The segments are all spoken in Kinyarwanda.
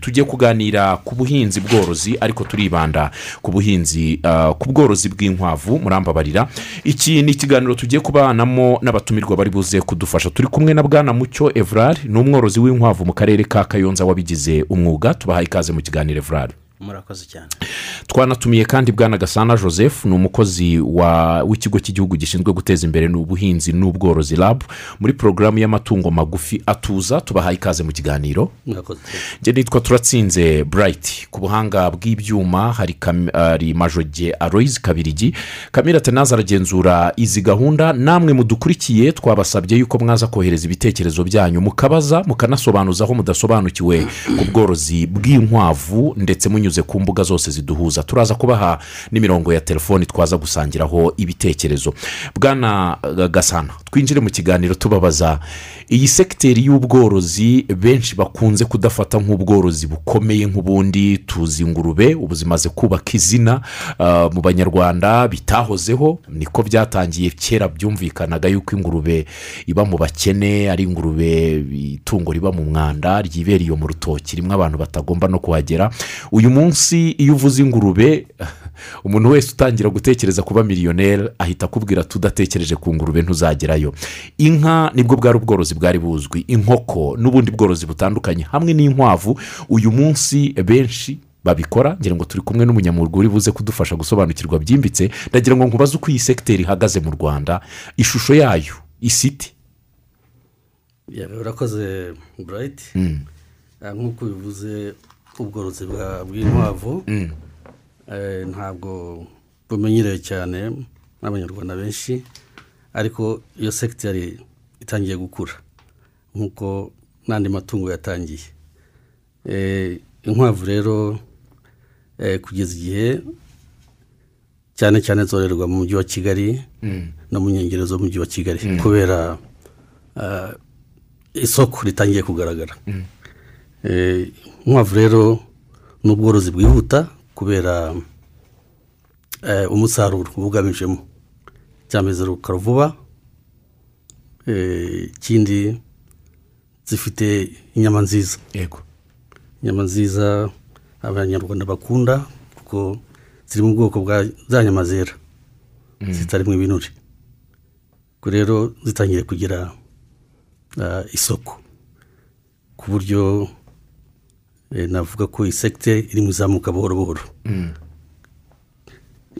tugiye kuganira ku buhinzi bworozi ariko turibanda ku buhinzi uh, ku bworozi bw'inkwavu murambabarira iki ni ikiganiro tugiye kubanamo n'abatumirwa bari buze kudufasha turi kumwe na bwana mucyo evrard ni umworozi w'inkwavu mu karere ka kayonza wabigize umwuga tubahaye ikaze mu kiganiro evrard murakoze cyane twanatumiye kandi bwana gasana joseph ni umukozi w'ikigo cy'igihugu gishinzwe guteza imbere ubuhinzi n'ubworozi rabu muri porogaramu y'amatungo magufi atuza tubahaye ikaze mu kiganiro murakoze cyane njye nitwa turatsinze burayiti ku buhanga bw'ibyuma hari Kam- hari majoge aroyizi kabirigi kamira tenazi aragenzura izi gahunda namwe mudukurikiye twabasabye yuko mwaza kohereza ibitekerezo byanyu mukabaza mukanasobanuza aho mudasobanukiwe ku bworozi bw'inkwavu ndetse munyuze ku mbuga zose ziduhuza turaza kubaha n'imirongo ya telefoni twaza gusangiraho ibitekerezo bwana eh, gasana twinjire mu kiganiro tubabaza iyi sekiteri y'ubworozi benshi bakunze kudafata nk'ubworozi bukomeye nk'ubundi tuzi ingurube ubu zimaze kubaka izina ah, mu banyarwanda bitahozeho niko byatangiye kera byumvikanaga yuko ingurube iba mu bakene ari ingurube itungo riba mu mwanda ryibera iyo mu rutoki rimwe abantu batagomba no kuhagera uyu munsi iyo uvuze ingurube umuntu wese utangira gutekereza kuba miliyoneri ahita akubwira tudatekereje ku ngurube ntuzagerayo inka nibwo bwari ubworozi bwari buzwi inkoko n'ubundi bworozi butandukanye hamwe n'inkwavu uyu munsi benshi babikora ngira ngo turi kumwe n'umunyamurwa uri buze kudufasha gusobanukirwa byimbitse ndagira ngo nkubaze uko iyi sekiteri ihagaze mu rwanda ishusho yayo isiti Yego, urakoze burayiti Hmm. Mm, Ah, nk'uko bivuze ubworozi bwa- bw'inkwavu Eh, ntabwo bumenyerewe cyane n'abanyarwanda benshi ariko iyo sekiteri itangiye gukura nk'uko n'andi matungo yatangiye Eh, inkwavu rero eh, kugeza igihe cyane cyane zororerwa mu mujyi wa kigali no mu nkengero z'umujyi wa kigali kubera ah, isoko ritangiye kugaragara Eh, inkwavu rero ni ubworozi bwihuta kubera eh, umusaruro uba ugamijemo cyameze rukara vuba Eh, ikindi zifite inyama nziza yego inyama nziza abanyarwanda bakunda kuko ziri mu bwoko bwa za nyama zera zitarimo ibinure ubwo rero zitangiye kugira ah, isoko ku buryo eh, navuga ko iyi sekiteri iri mu izamuka buhoro buhoro Mm.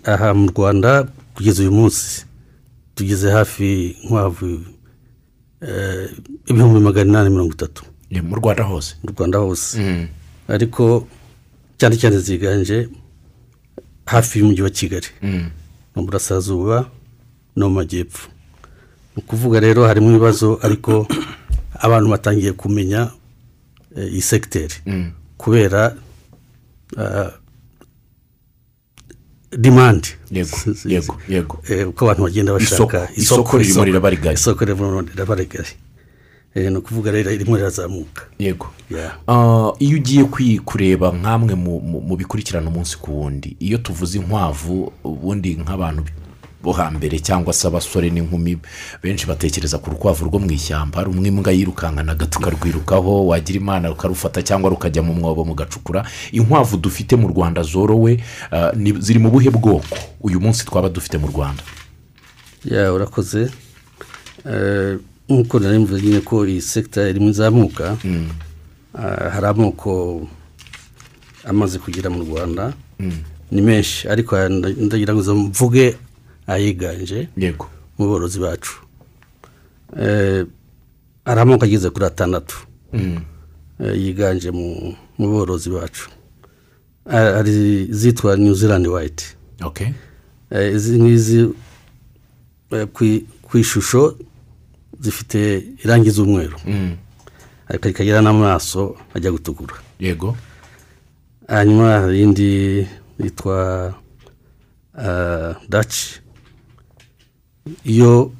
aha mu rwanda kugeza uyu munsi tugeze hafi nkwavu eh, ibihumbi magana inani mirongo itatu ni mu rwanda hose mu rwanda hose Mm. ariko cyane cyane ziganje hafi y'umujyi wa kigali Mm. mu burasirazuba no mu majyepfo ni ukuvuga rero harimo ibibazo ariko abantu batangiye kumenya eh, iyi sekiteri Mm. kubera ah, dimandi yego yego yego Eh, uko abantu bagenda bashaka Isoko- isoko ririmo riraba rigari. isoko ririmo riraba rigari Eh, ni ukuvuga rero ririmo rirazamuka yego Yeah. Ah, iyo ugiye kwi- kureba nk'amwe mu- mu- mu bikurikirana umunsi ku wundi iyo tuvuze inkwavu ubundi nk'abantu bo hambere cyangwa se abasore n'inkumi benshi batekereza ku rukwavu rwo mu ishyamba rumwe imbwa yirukankanaga tukarwirukaho wagira imana rukarufata cyangwa rukajya mu mwobo mugacukura inkwavu dufite mu rwanda zorowe ah, ni- ziri mu buhe bwoko uyu munsi twaba dufite mu rwanda ya urakoze Eh, nk'uko nari mvuze nyine ko iyi sekita irimo izamuka Ah, hari amoko amaze kugera mu rwanda ni menshi ariko aya nda- ndagira ngo mvuge ayiganje yego mu borozi bacu Eh, hari amoko ageze kuri atandatu Eh, yiganje mu mu borozi bacu Ah, hari izitwa new zealand white ok Eh, izi ngizi eh, ku- ku ishusho zifite irangi z'umweru Mm. ariko rikagira n'amaso ajya gutukura yego hanyuma hari indi yitwa ah, daci yo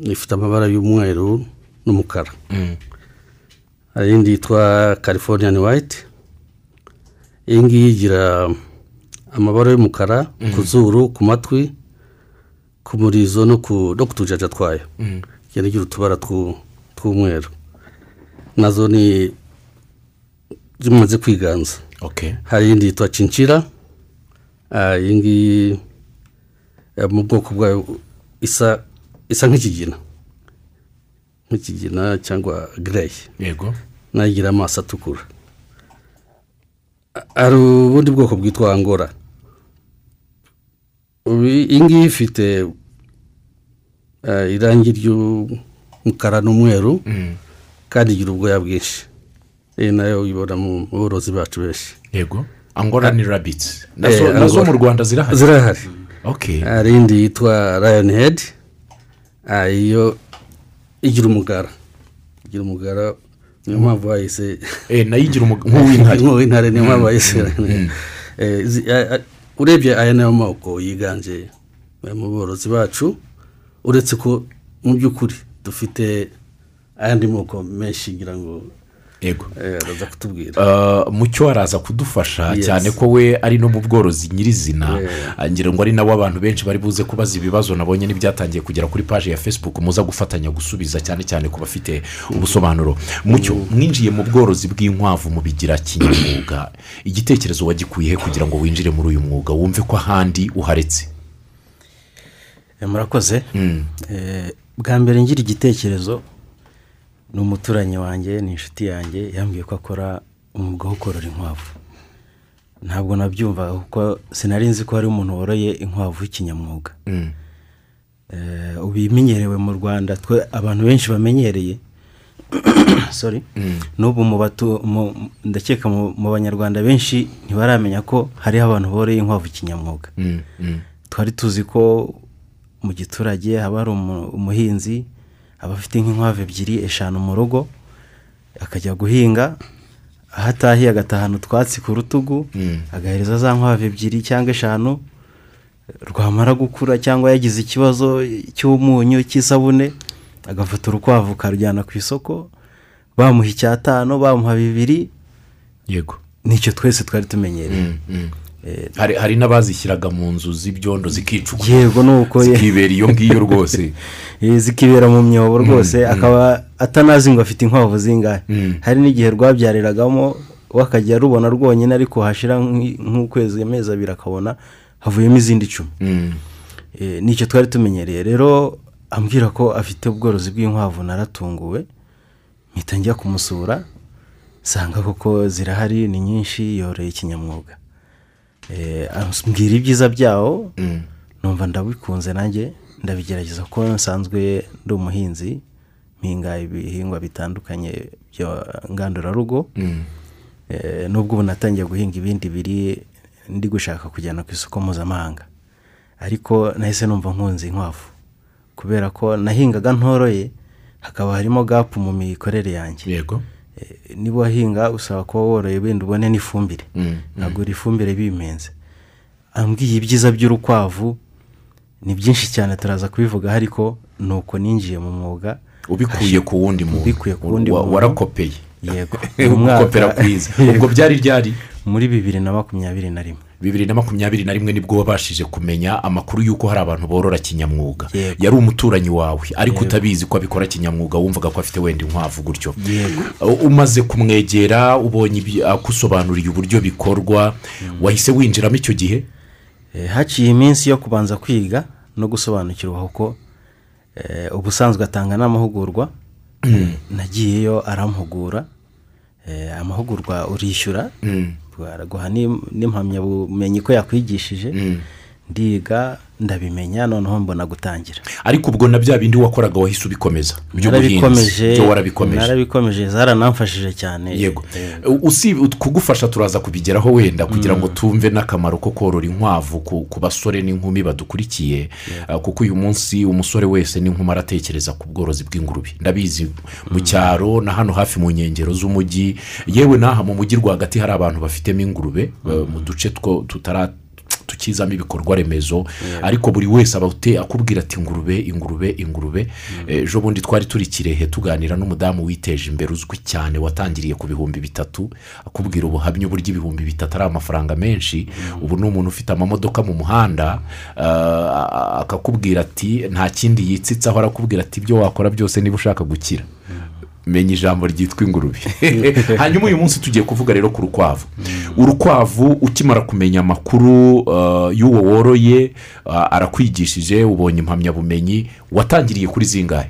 ifite amabara y'umweru n'umukara Mm. hari indi yitwa californian white iyi ngiyi igira amabara y'umukara ku zuru ku matwi ku murizo no ku no ku tujaja twayo Mm. igenda igira utubara tw'u- tw'umweru nazo ni zimaze kwiganza ok hari iyindi yitwa cinshira ah, iyi ngiyi eh, mu bwoko bwayo isa isa nk'ikigina nk'ikigina cyangwa gireyi yego nayo igira amaso atukura A- hari ubundi bwoko bwitwa angora Ubu iyi ngiyi ifite eh, irangi ry'umukara n'umweru kandi igira ubwoya bwinshi iyi nayo uyibona mu borozi bacu benshi yego angora ni rabitsi Eh, nazo nazo Angola. mu rwanda Eh, zirahari zirahari ok hari indi yitwa rayoni hedi iyo igira umugara igira umugara niyo mpamvu bayise Eh, nayo igira umu- nk'uw'intare nk'uw'intare niyo mpamvu bayise Eh, zi- a- a- urebye aya niyo moko yiganje eh, mu borozi bacu uretse ko mu by'ukuri dufite ayandi moko menshi ngira ngo yego eh, araza kutubwira Uh, mucyo araza kudufasha Yes. cyane ko we ari no mu bworozi nyirizina Yeah. yeah. ngira ngo ari nawe abantu benshi bari buze kubaza ibibazo nabonye n'ibyatangiye kugera kuri paji ya facebook muza gufatanya gusubiza cyane cyane ku bafite ubusobanuro mucyo mwinjiye mu bworozi bw'inkwavu mubigira kinyamwuga igitekerezo wagikuye he kugira ngo winjire muri uyu mwuga wumve ko ahandi uharetse Eh, murakoze Eh, bwa mbere ngira igitekerezo ni umuturanyi wanjye ni inshuti yanjye yambwiye ko akora umwuga wo korora inkwavu ntabwo nabyumvaga kuko sinari nzi ko hari umuntu woroye inkwavu y'ikinyamwuga Mm. Eh, ubu ibimenyerewe mu rwanda twe abantu benshi bamenyereye sorry n'ubu mu batu mu- ndakeka mu mu banyarwanda benshi ntibaramenya ko hariho abantu boroye inkwavu kinyamwuga Mm, mm. twari tuzi ko mu giturage haba hari umu- umuhinzi aba afite nk'inkwavu ebyiri eshanu mu rugo akajya guhinga aho atahiye agatahana utwatsi ku rutugu agahereza za nkwavu ebyiri cyangwa eshanu rwamara gukura cyangwa yagize ikibazo cy'umunyu cy'isabune agafata urukwavu akarujyana ku isoko bamuha icyatanu bamuha bibiri yego nicyo twese twari tumenyereye Mm, mm. hari hari n'abazishyiraga mu nzu z'ibyondo zikicwa yego ni uko ye- zikibera iyo ngiyo rwose Eh, zikibera mu myobo rwose akaba atanazi ngo afite inkwavu zingahe hari n'igihe rwabyariragamo we akajya rubona rwonyine ariko hashira nk'i- nk'ukwezi amezi abiri akabona havuyemo izindi icumi Mm. Eh, nicyo twari tumenyereye rero ambwira ko afite ubworozi bw'inkwavu naratunguwe mpita njya kumusura nsanga koko zirahari ni nyinshi yororeye kinyamwuga Eh, ambwira ibyiza byawo mm, numva ndabikunze nanjye ndabigerageza kuko nsanzwe ndi umuhinzi mpinga ibihingwa bitandukanye bya ngandurarugo mm. Eh, nubwo ubu natangiye guhinga ibindi biri ndi gushaka kujyana ku isoko mpuzamahanga ariko nahise numva nkunze inkwavu kubera ko nahingaga ntoroye hakaba harimo gapu mu mikorere yanjye yego Eh, niba wahinga usaba kuba woroye wenda ubone n'ifumbire Mm, agura ifumbire bimenze ambwiye ibyiza by'urukwavu ni byinshi cyane turaza kubivugaho ariko ni uko ninjiye mu mwuga ubikuye ku wundi muntu Ubikuye ku wundi Wa- muntu. warakopeye yego Umwaka- gukopera kwiza ubwo byari ryari muri bibiri na makumyabiri na rimwe bibiri na makumyabiri na rimwe nibwo wabashije kumenya amakuru y'uko hari abantu borora kinyamwuga Yego. yari umuturanyi wawe ariko utabizi ko abikora kinyamwuga wumvaga ko afite wenda inkwavu gutyo yego Uh, umaze kumwegera ubonye ibyo- akusobanuriye uburyo bikorwa Mm. wahise winjiramo icyo gihe Eh, haciye iminsi yo kubanza kwiga no gusobanukirwa kuko eh, ubusanzwe atanga n'amahugurwa eh, nagiyeyo arampugura Eh, amahugurwa urishyura Mm. baraguha n'im- n'impamyabumenyi ko yakwigishije Mm. ndiga ndabimenya noneho mbona gutangira ariko ubwo na bya bindi wakoraga wahise ubikomeza narabikomeje byo warabikomeje narabikomeje zaranamfashije cyane yego Eh, usibye kugufasha turaza kubigeraho wenda Mm. kugira ngo tumve n'akamaro ko korora inkwavu ku, ku basore n'inkumi badukurikiye uh, kuko uyu munsi umusore wese n'inkumi aratekereza ku bworozi bw'ingurube Mm. ndabizi mu cyaro na hano hafi mu nkengero z'umujyi yewe n'aha mu mujyi rwagati hari abantu bafitemo ingurube Mm. uh, mu duce two tutara tukizamo ibikorwa remezo ariko buri wese aba ate- akubwira ati ingurube ingurube ingurube Eh, ejo bundi twari turi kirehe tuganira n'umudamu witeje imbere uzwi cyane watangiriye ku bihumbi bitatu akubwira ubuhamya uburyo ibihumbi bitatu ari amafaranga menshi ubu ni umuntu ufite amamodoka mu muhanda ah, akakubwira ati nta kindi yitsitsaho arakubwira ati ibyo wakora byose niba ushaka gukira menya ijambo ryitwa ingurube hanyuma uyu munsi tugiye kuvuga rero ku rukwavu urukwavu ukimara kumenya amakuru uh, y'uwo woroye uh, arakwigishije ubonye impamyabumenyi watangiriye kuri zingahe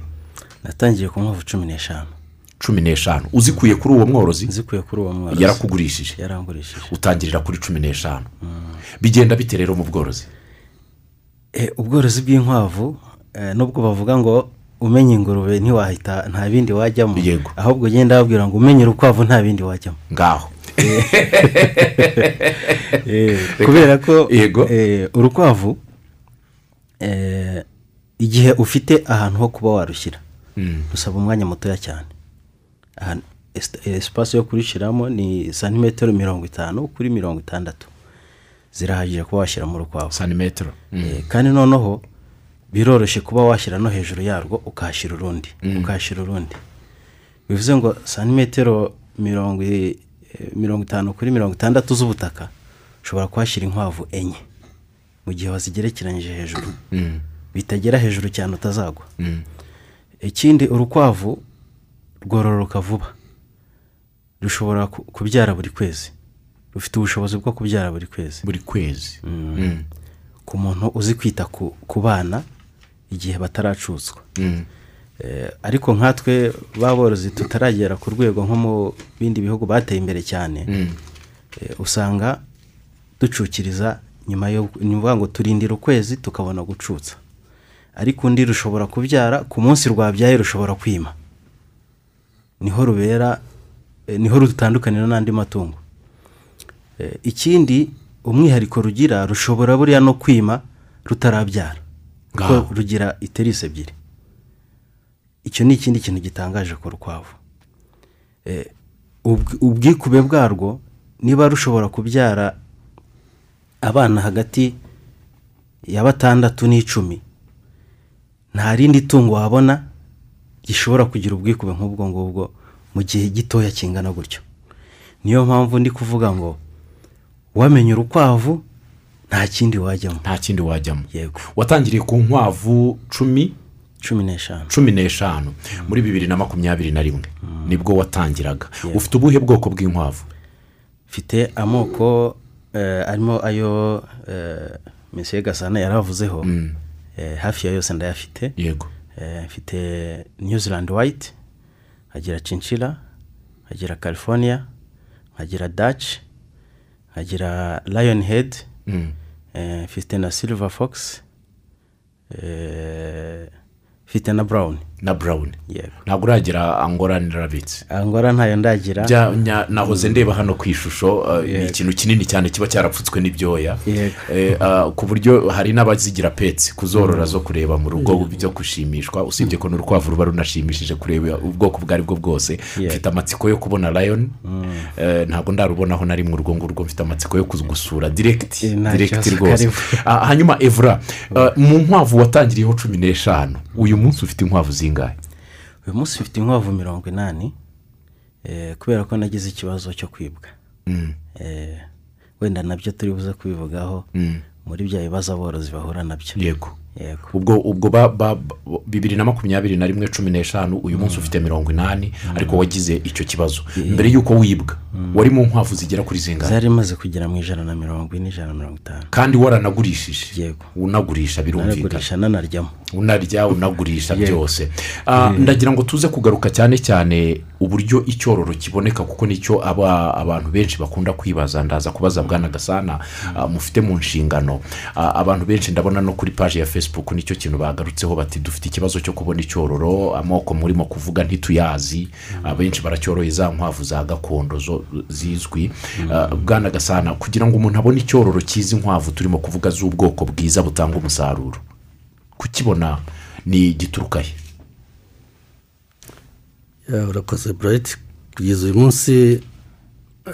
natangiye ku nkwavu cumi n'eshanu cumi n'eshanu uzikuye kuri uwo mworozi zikuye kuri uwo mworozi yarakugurishije yarangurishije utangirira kuri cumi n'eshanu bigenda bite rero mu bworozi Eh, ubworozi bw'inkwavu eh, nubwo bavuga ngo umenye ingurube ntiwahita nta bindi wajyamo Yego. ahubwo ugenda babwira ngo umenye urukwavu nta bindi wajyamo ngaho kubera ko Yego. eh, urukwavu eh, igihe ufite ahantu ho kuba warushyira Hmm. rusaba umwanya mutoya cyane ahantu esita- eh, esipasi yo kurushyiramo ni santimetero mirongo itanu kuri mirongo itandatu zirahagije kuba washyiramo urukwavu santimetero Eh, kandi noneho biroroshye kuba washyira no hejuru yarwo ukahashyira urundi ukahashyira urundi bivuze ngo santimetero mirongo i- eh, mirongo itanu kuri mirongo itandatu z'ubutaka ushobora kuhashyira inkwavu enye mu gihe wazigerekeranyije hejuru bitagera hejuru cyane utazagwa ikindi urukwavu rwororoka vuba rushobora ku- kubyara buri kwezi rufite ubushobozi bwo kubyara buri kwezi buri kwezi Mm. ku muntu uzi kwita ku ku bana igihe bataracutswa Mm. Eh, ariko nkatwe borozi tutaragera ku rwego nko mu bindi bihugu bateye imbere cyane eh, usanga ducukiriza nyuma yo ni ukuvuga ngo turindira ukwezi tukabona gucutsa ariko undi rushobora kubyara ku munsi rwabyaye rushobora kwima niho rubera eh, niho rutandukanira n'andi matungo Eh, ikindi umwihariko rugira rushobora buriya no kwima rutarabyara Ngaho. kuko rugira iterisi ebyiri icyo ni ikindi kintu gitangaje ku rukwavu Eh, ubw- ubwikube bwarwo niba rushobora kubyara abana hagati ya batandatu n'icumi nta rindi tungo wabona gishobora kugira ubwikube nk'ubwo ngubwo mu gihe gitoya kingana gutyo niyo mpamvu ndi kuvuga ngo wamenye urukwavu nta kindi wajyamo nta kindi wajyamo yego watangiriye ku nkwavu cumi cumi n'eshanu cumi n'eshanu muri bibiri na makumyabiri na rimwe nibwo watangiraga ufite ubuhe bwoko bw'inkwavu mfite amoko eh, arimo ayo eh, mesiye gasana yaravuzeho eh, hafi ya yose ndayafite yego Eh, mfite new zealand white nkagira cinshira nkagira california nkagira dutch nkagira lion head Mm. eh, mfite na silver fox eh, mfite na brown na burawuni yego ntabwo uragira angora nirabitse angora Ah, ntayo ndagira bya nya- nahoze ndeba hano ku ishusho uh, ni ikintu kinini cyane kiba cyarapfutswe n'ibyoya Yego. Eh, uh, ku buryo hari n'abazigira petse Mm. kuzorora zo kureba mu rugo byo gushimishwa usibye ko n'urukwavu ruba runashimishije kureba ubwoko ubwo ari bwo bwose Yego. mfite amatsiko yo kubona lion Mm. Eh, ntabwo ndarubonaho na rimwe urwo ngurwo mfite amatsiko yo kugusura Eh, direkiti nta direkiti kibazo, rwose karibu. Mm. Ah, hanyuma evura eh, mu nkwavu watangiriyeho cumi n'eshanu uyu munsi ufite inkwavu zingahe uyu munsi mfite inkwavu mirongo inani eh, kubera ko nagize ikibazo cyo kwibwa Mm. Eh, wenda nabyo turi buze kubivugaho muri bya bibazo aborozi bahura nabyo Mm. yego yego ubwo ubwo ba- ba- ba- bibiri na makumyabiri na rimwe cumi n'eshanu uyu Mm. munsi ufite mirongo inani ariko wagize icyo kibazo mbere y'uko wibwa Mm. wari mu nkwavu zigera kuri zingahe zari imaze kugera mu ijana na mirongo ine ijana na mirongo itanu kandi waranagurishije Yego. unagurisha birumvikana naragurisha nanaryamo unarya unagurisha Yego. byose Ah, ndagira ngo tuze kugaruka cyane cyane uburyo icyororo kiboneka kuko nicyo aba abantu benshi bakunda kwibaza ndaza kubaza bwana gasana ah, mufite mu nshingano Ah, abantu benshi ndabona no kuri paji ya fesibuku nicyo kintu bagarutseho bati dufite ikibazo cyo kubona icyororo amoko murimo kuvuga ntituyazi abenshi baracyoroye za nkwavu za gakondo zo zizwi Ah, bwana gasana kugira ngo umuntu abone icyororo cyizi nkwavu turimo kuvuga z'ubwoko bwiza butanga umusaruro kukibona ni igituruka he Ya, urakoze burayiti kugeza uyu munsi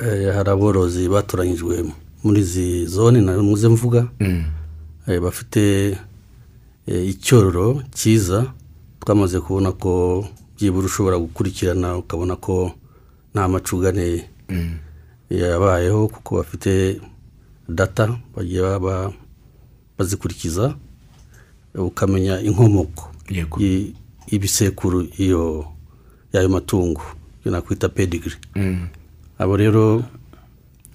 eh, hari aborozi batoranyijwe muri izi zone namuze mvuga Eh, bafite eh, icyororo cyiza twamaze kubona ko byibura ushobora gukurikirana ukabona ko nta macugane yabayeho kuko bafite data bagiye baba- bazikurikiza ukamenya inkomoko Yego. y'i- ibisekuru iyo y'ayo matungo ibyo nakwita pedigiri abo rero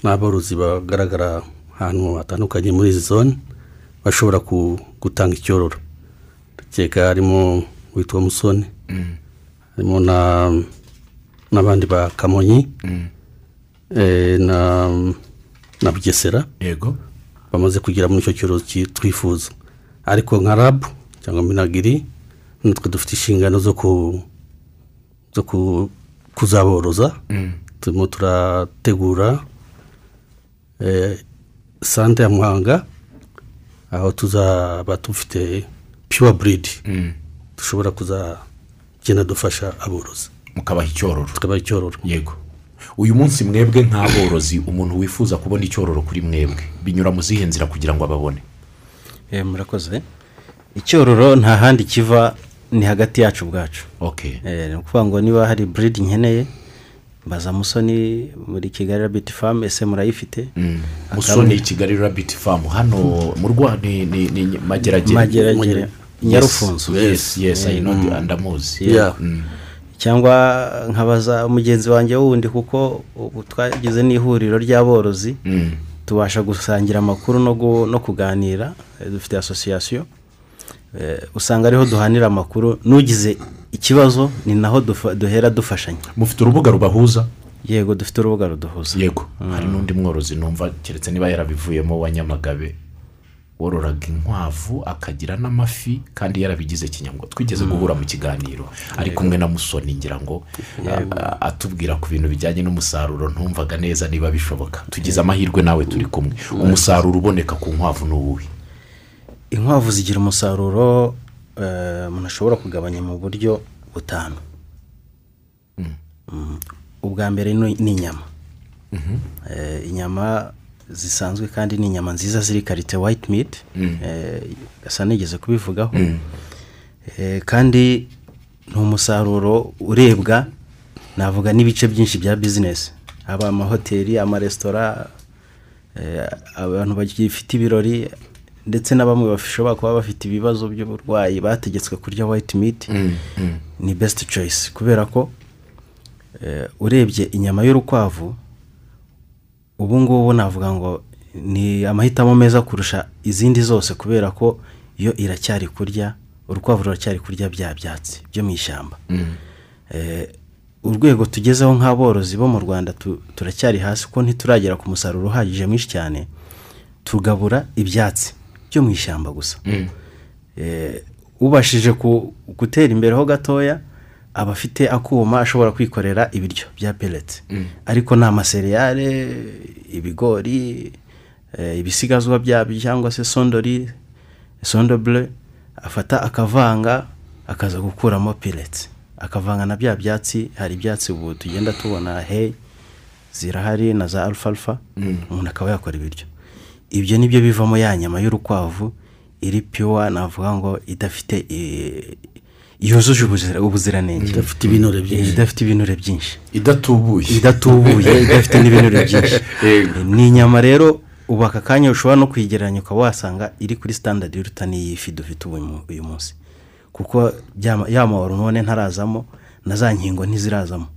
ni aborozi bagaragara ahantu hatandukanye muri izi zone bashobora ku- gutanga icyororo ndakeka harimo uwitwa musoni harimo na n'abandi ba kamonyi eh, na na bugesera yego bamaze kugera muri icyo cyorezo ki- twifuza ariko nka rabu cyangwa minagiri natwe dufite inshingano zo ku zo ku- kuzaboroza turimo turategura eh, sante ya muhanga aho tuzaba dufite pure breed dushobora kuzagenda dufasha aborozi mukabaha icyororo tukabaha icyororo yego uyu munsi mwebwe nk'aborozi umuntu wifuza kubona icyororo kuri mwebwe binyura mu zihe nzira kugira ngo ababone Eh, murakoze icyororo nta handi kiva ni hagati yacu ubwacu ok Eh, ni ukuvuga ngo niba hari buridi nkeneye mbaza musoni muri kigali rabiti famu ese murayifite musoni kigali rabiti famu hano mu rwa ni ni ni mageragere mageragere nyarufunzo Mm. yesi yesi ayi nodi andamuzi Yeah. cyangwa nkabaza mugenzi wanjye wundi kuko ubu twagize n'ihuriro ry'aborozi tubasha gusangira amakuru no gu- no kuganira Eh, dufite asosiyasiyo Eh, usanga ariho duhanira amakuru n'ugize ikibazo ni naho dufa- duhera dufashanya mufite urubuga rubahuza yego dufite urubuga ruduhuza yego hari n'undi mworozi numva keretse niba yarabivuyemo wa nyamagabe wororaga inkwavu akagira n'amafi kandi yarabigize kinyamwuga twigeze guhura mu kiganiro ari kumwe na musoni ngira ngo a- a- atubwira ku bintu bijyanye n'umusaruro ntumvaga neza niba bishoboka tugize amahirwe nawe turi kumwe umusaruro uboneka ku nkwavu ni uwuhe inkwavu zigira umusaruro eh, umuntu ashobora kugabanya mu buryo butanu Mm. ubwa mbere ni ni inyama Eh, inyama zisanzwe kandi ni inyama nziza ziri karite white meat Eh, gasa nigeze kubivugaho Eh, kandi ni umusaruro urebwa navuga n'ibice byinshi bya bizinesi haba amahoteli amaresitora eh, abantu bagifite ibirori ndetse na bamwe bashobora kuba bafite ibibazo by'uburwayi bategetswe kurya white meat Mm. ni best choice kubera ko eh, urebye inyama y'urukwavu ubu ngubu navuga ngo ni amahitamo meza kurusha izindi zose kubera ko yo iracyari kurya urukwavu ruracyari kurya bya byatsi byo mu ishyamba Mm. Eh, urwego tugezeho nk'aborozi bo mu rwanda tu- turacyari hasi kuko ntituragera ku musaruro uhagije mwinshi cyane tugabura ibyatsi byo mu ishyamba gusa Eh, ubashije ku- gutera imbere ho gatoya aba afite akuma ashobora kwikorera ibiryo bya peleti ariko ni amaseriyare ibigori eh, ibisigazwa byabyo cyangwa se sondori sondobure afata akavanga akaza gukuramo peleti akavanga na bya byatsi hari ibyatsi ubu tugenda tubona heyi zirahari na za alfalfa umuntu akaba yakora ibiryo ibyo nibyo bivamo ya nyama y'urukwavu iri piwa navuga ngo idafite eh, yujuje ubuzira- ubuziranenge idafite ibinure byinshi idafite ibinure byinshi idatubuye idatubuye idafite n'ibinure byinshi Yego. ni inyama rero ubu aka kanya ushobora no kuyigereranya ukaba wasanga iri kuri standard iruta n'iy'ifi dufite ubu mu- uyu munsi kuko byama- ya mahormone ntarazamo na za nkingo ntizirazamo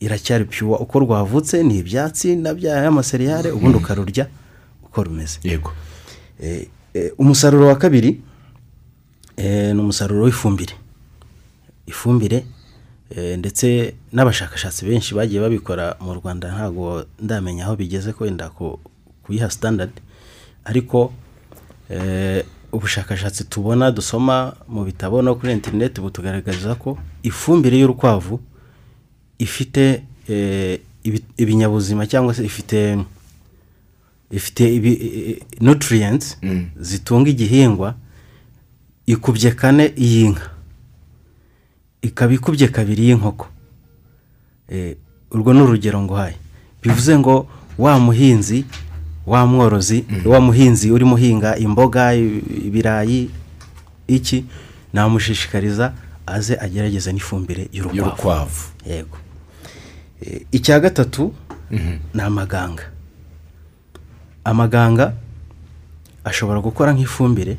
iracyari piwa uko rwavutse ni ibyatsi na bya y'amaseriyare Hmm. ubundi ukarurya uko rumeze yego Eh, eh, umusaruro wa kabiri eh, ni umusaruro w'ifumbire ifumbire eh, ndetse n'abashakashatsi benshi bagiye babikora mu rwanda ntabwo ndamenya aho bigeze kwenda ku- kuyiha standard ariko eh, ubushakashatsi tubona dusoma mu bitabo no kuri interineti butugaragariza ko ifumbire y'urukwavu ifite eh, ibi- ibinyabuzima cyangwa se ifite ifite ibi i- i- nutrients zitunga igihingwa ikubye kane iy'inka ikaba ikubye kabiri y'inkoko Eh, urwo ni urugero nguhaye bivuze ngo wa muhinzi wa mworozi wa muhinzi urimo uhinga imboga i- ibirayi iki namushishikariza aze agerageze n'ifumbire y'urukwavu y'urukwavu yego Eh, icya gatatu ni amaganga amaganga ashobora gukora nk'ifumbire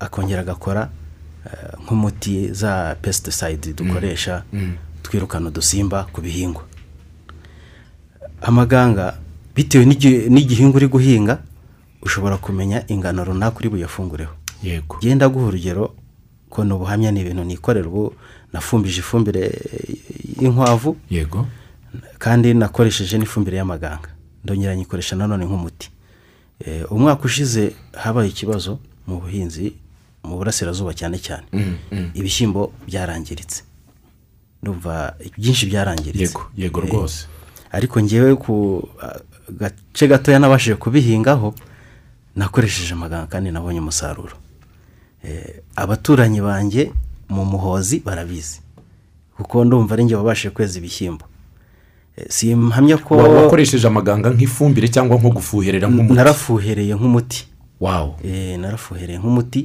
akongera agakora eh, nk'umuti za pesticide dukoresha twirukana udusimba ku bihingwa amaganga bitewe n'igi- n'igihingwa uri guhinga ushobora kumenya ingano runaka uri buyafungureho yego genda aguha urugero ko ni ubuhamya ni ibintu nikorera ubu nafumbije ifumbire eh, y'inkwavu yego kandi nakoresheje n'ifumbire y'amaganga ndongera nyikoresha nanone nk'umuti Eh, umwaka ushize habaye ikibazo mu buhinzi mu burasirazuba cyane cyane Mm, ibishyimbo byarangiritse ndumva byinshi byarangiritse yego yego Eh, rwose ariko ngewe ku ah, gace gatoya nabashije kubihingaho nakoresheje amaganga kandi nabonye umusaruro Eh, abaturanyi banjye mu muhozi barabizi kuko ndumva ari nge wabashije kweza ibishyimbo Eh, simpamya ko Wa- wakoresheje amaganga nk'ifumbire cyangwa nko gufuherera nk'umuti narafuhereye nk'umuti wawo Eh, narafuhereye nk'umuti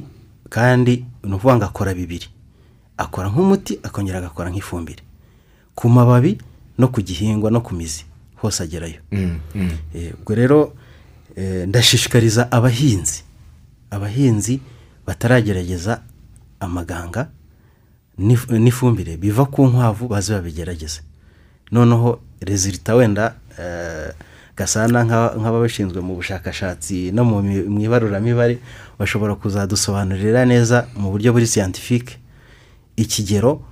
kandi ni ukuvuga ngo akora bibiri akora nk'umuti akongera agakora nk'ifumbire ku mababi no ku gihingwa no ku mizi hose agerayo Mm, mm. Eh, ubwo rero eh, ndashishikariza abahinzi abahinzi bataragerageza amaganga n'if- n'ifumbire biva ku nkwavu baze babigerageze noneho rezilita wenda eh, gasana nka- nk'ababishinzwe mu bushakashatsi no mu mi- mu ibaruramibare bashobora kuzadusobanurira neza mu buryo buri siyantifike ikigero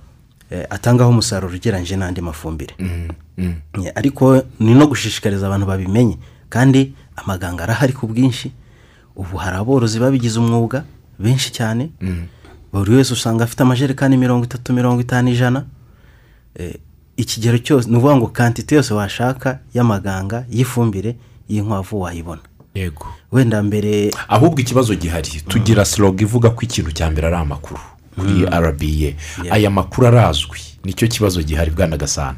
eh, atangaho umusaruro ugereranyije n'andi mafumbire Eh, ariko ni no gushishikariza abantu babimenye kandi amaganga arahari ku bwinshi ubu hari aborozi babigize umwuga benshi cyane buri wese usanga afite amajerekani mirongo itatu mirongo itanu ijana Eh, ikigero cyose ni ukuvuga ngo kantite yose washaka y'amaganga y'ifumbire y'inkwavu wayibona yego wenda mbere ahubwo ikibazo gihari tugira siroga ivuga ko ikintu cya mbere ari amakuru kuri rba aya makuru arazwi nicyo kibazo gihari bwana gasana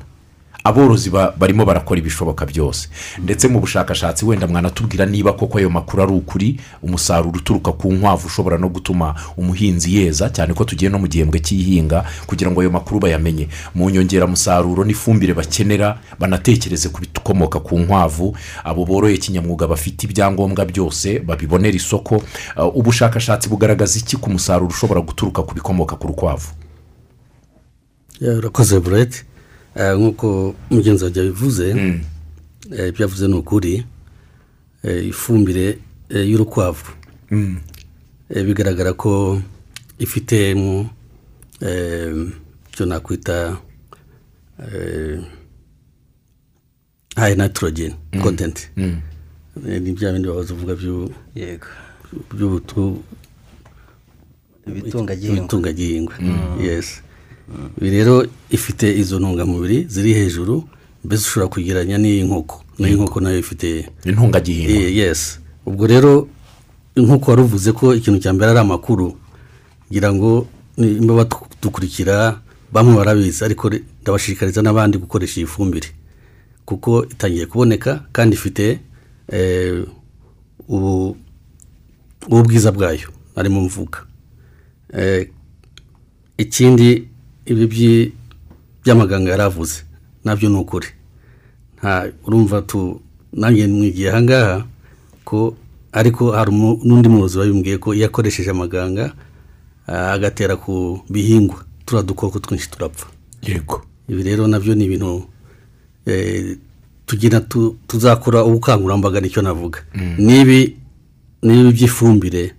aborozi ba- barimo barakora ibishoboka byose ndetse mu bushakashatsi wenda mwanatubwira niba koko ayo makuru ari ukuri umusaruro uturuka ku nkwavu ushobora no gutuma umuhinzi yeza cyane ko tugiye no mu gihembwe cy'ihinga kugira ngo ayo makuru bayamenye mu nyongeramusaruro n'ifumbire bakenera banatekereze ku bikomoka ku nkwavu abo boroye kinyamwuga bafite ibyangombwa byose babibonera isoko Uh, ubushakashatsi bugaragaza iki ku musaruro ushobora guturuka ku bikomoka ku rukwavu Eh, urakoze burete Eh, nk'uko mugenzi wanjye yabivuze eh, ibyo yavuze ni ukuri Eh, ifumbire eh, y'urukwavu Eh, bigaragara ko ifite mu eh, icyo nakwita eh, high nitrogen content Eh, ni bya bindi bahoze uvuga by'u- yego by'ubutu ibitungagihingwa ibitungagihingwa yes Ibi rero ifite izo ntungamubiri ziri hejuru mbese ushobora kugereranya n'iy'inkoko n'iy'inkoko nayo ifite intungagihingwa Eh, yes ubwo rero nk'uko wari uvuze ko ikintu cya mbere ari amakuru ngira ngo niba badukurikira bamwe barabizi ariko re- ndabashishikariza n'abandi gukoresha iyi fumbire kuko itangiye kuboneka kandi ifite eh, ubu- ubwiza bwayo arimo mvuga Eh, ikindi ibi by'i- by'amaganga yaravuze nabyo ni ukuri nta urumva tu nanjye mwigiye ahangaha ko ariko hari umu- n'undi muyobozi wabimbwiye ko iyo akoresheje amaganga ah, agatera ku bihingwa turiya dukoko twinshi turapfa yego ibi rero nabyo ni ibintu eh, tugira tu- tuzakora ubukangurambaga nicyo navuga n'ibi n'ibi by'ifumbire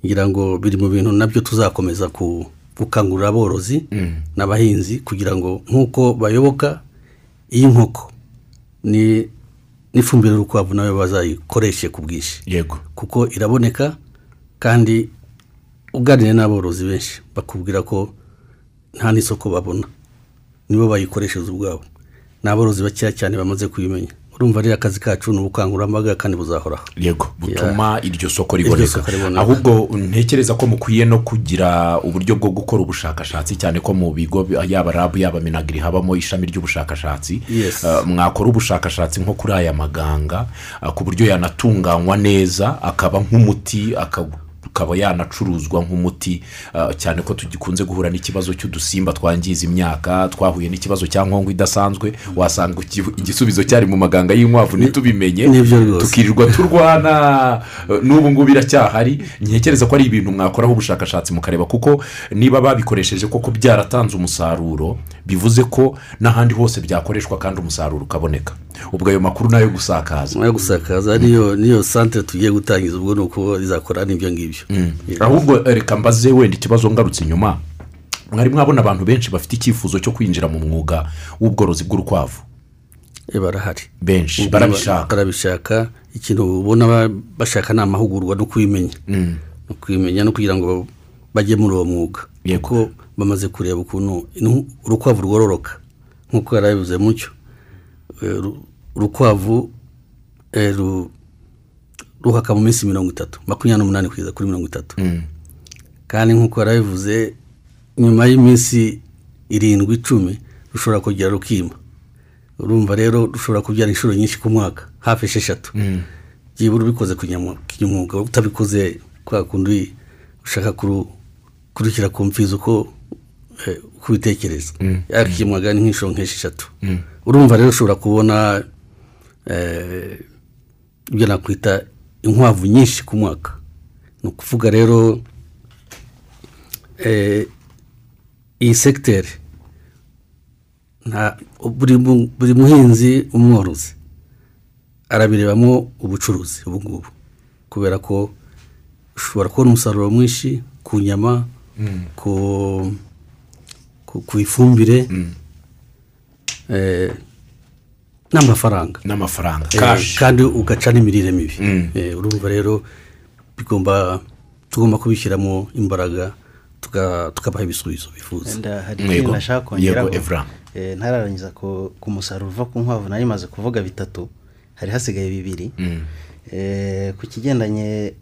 ngira ngo biri mu bintu nabyo tuzakomeza ku- gukangurira aborozi n'abahinzi kugira ngo nk'uko bayoboka iy'inkoko ni n'ifumbire y'urukwavu nayo bazayikoreshe ku bwinshi yego kuko iraboneka kandi uganiriye n'aborozi benshi bakubwira ko nta n'isoko babona nibo bayikoresheje ubwabo ni aborozi bakeya cyane bamaze kuyimenya urumva rero akazi kacu ni ubukangurambaga kandi buzahoraho yego butuma iryo soko soko riboneka riboneka. ahubwo ntekereza ko mukwiye no kugira uburyo bwo gukora ubushakashatsi cyane ko mu bigo bi- yaba rabu yaba minagiri habamo ishami ry'ubushakashatsi Yes. Uh, mwakora ubushakashatsi nko kuri aya maganga uh, ku buryo yanatunganywa neza akaba nk'umuti aka- akaba yanacuruzwa nk'umuti ah, cyane ko tugikunze guhura n'ikibazo cy'udusimba twangiza imyaka twahuye n'ikibazo cya nkongo idasanzwe wasanga iki- igisubizo cyari mu maganga y'inkwavu ntitubimenye nibyo rwose. tukirirwa turwana eh, n'ubu ngubu iracyahari ntekereza ko ari ibintu mwakoraho ubushakashatsi mukareba kuko niba babikoresheje koko byaratanze umusaruro bivuze ko n'ahandi hose byakoreshwa kandi umusaruro ukaboneka ubwo ayo makuru nayo gusakaza nyuma yo gusakaza niyo niyo santire tugiye gutangiza ubwo ni uko izakora n'ibyo ngibyo ahubwo eh, reka mbaze wenda ikibazo ngarutse inyuma mwari mwabona abantu benshi bafite icyifuzo cyo kwinjira mu mwuga w'ubworozi bw'urukwavu Eh, barahari benshi Ubwo barabishaka barabishaka ikintu ubona ba- bashaka ni amahugurwa no kubimenya no kubimenya no kugira ngo bajye muri uwo mwuga Yego. kuko bamaze kureba ukuntu inu- urukwavu rwororoka nk'uko yarabivuze mucyo Eh, uru- urukwavu eh, ru- ruhaka mu minsi mirongo itatu makumyabiri n'umunani kugeza kuri mirongo itatu kandi nk'uko yarabivuze nyuma y'iminsi irindwi icumi rushobora kongera rukima urumva rero rushobora kubyara inshuro nyinshi ku mwaka hafi esheshatu byibura ubikoze kunyama- kinyamwuga utabikoze kwa kundi ushaka kuru- kurukira ku mfizi uko eh, uko ubitekereza yakimwaga ni nk'inshuro nk'esheshatu urumva rero ushobora kubona eh, ibyo nakwita inkwavu nyinshi ku mwaka ni ukuvuga rero eh, iyi segiteri nta buri mu- buri muhinzi umworozi arabirebamo ubucuruzi ubu ngubu kubera ko ushobora kubona umusaruro mwinshi ku nyama ku, ku, ku ifumbire eh, n'amafaranga n'amafaranga Eh, kashi kandi ugaca n'imirire mibi Eh, urumva rero bigomba tugomba kubishyiramo imbaraga tuka- tukabaha ibisubizo bifuza wenda hari Yego. ikintu nashaka kongeraho Yego, Ephraim. Eh, ntararangiza ku ku musaruro uva ku nkwavu nari maze kuvuga bitatu hari hasigaye bibiri Mm. Eh, ku kigendanye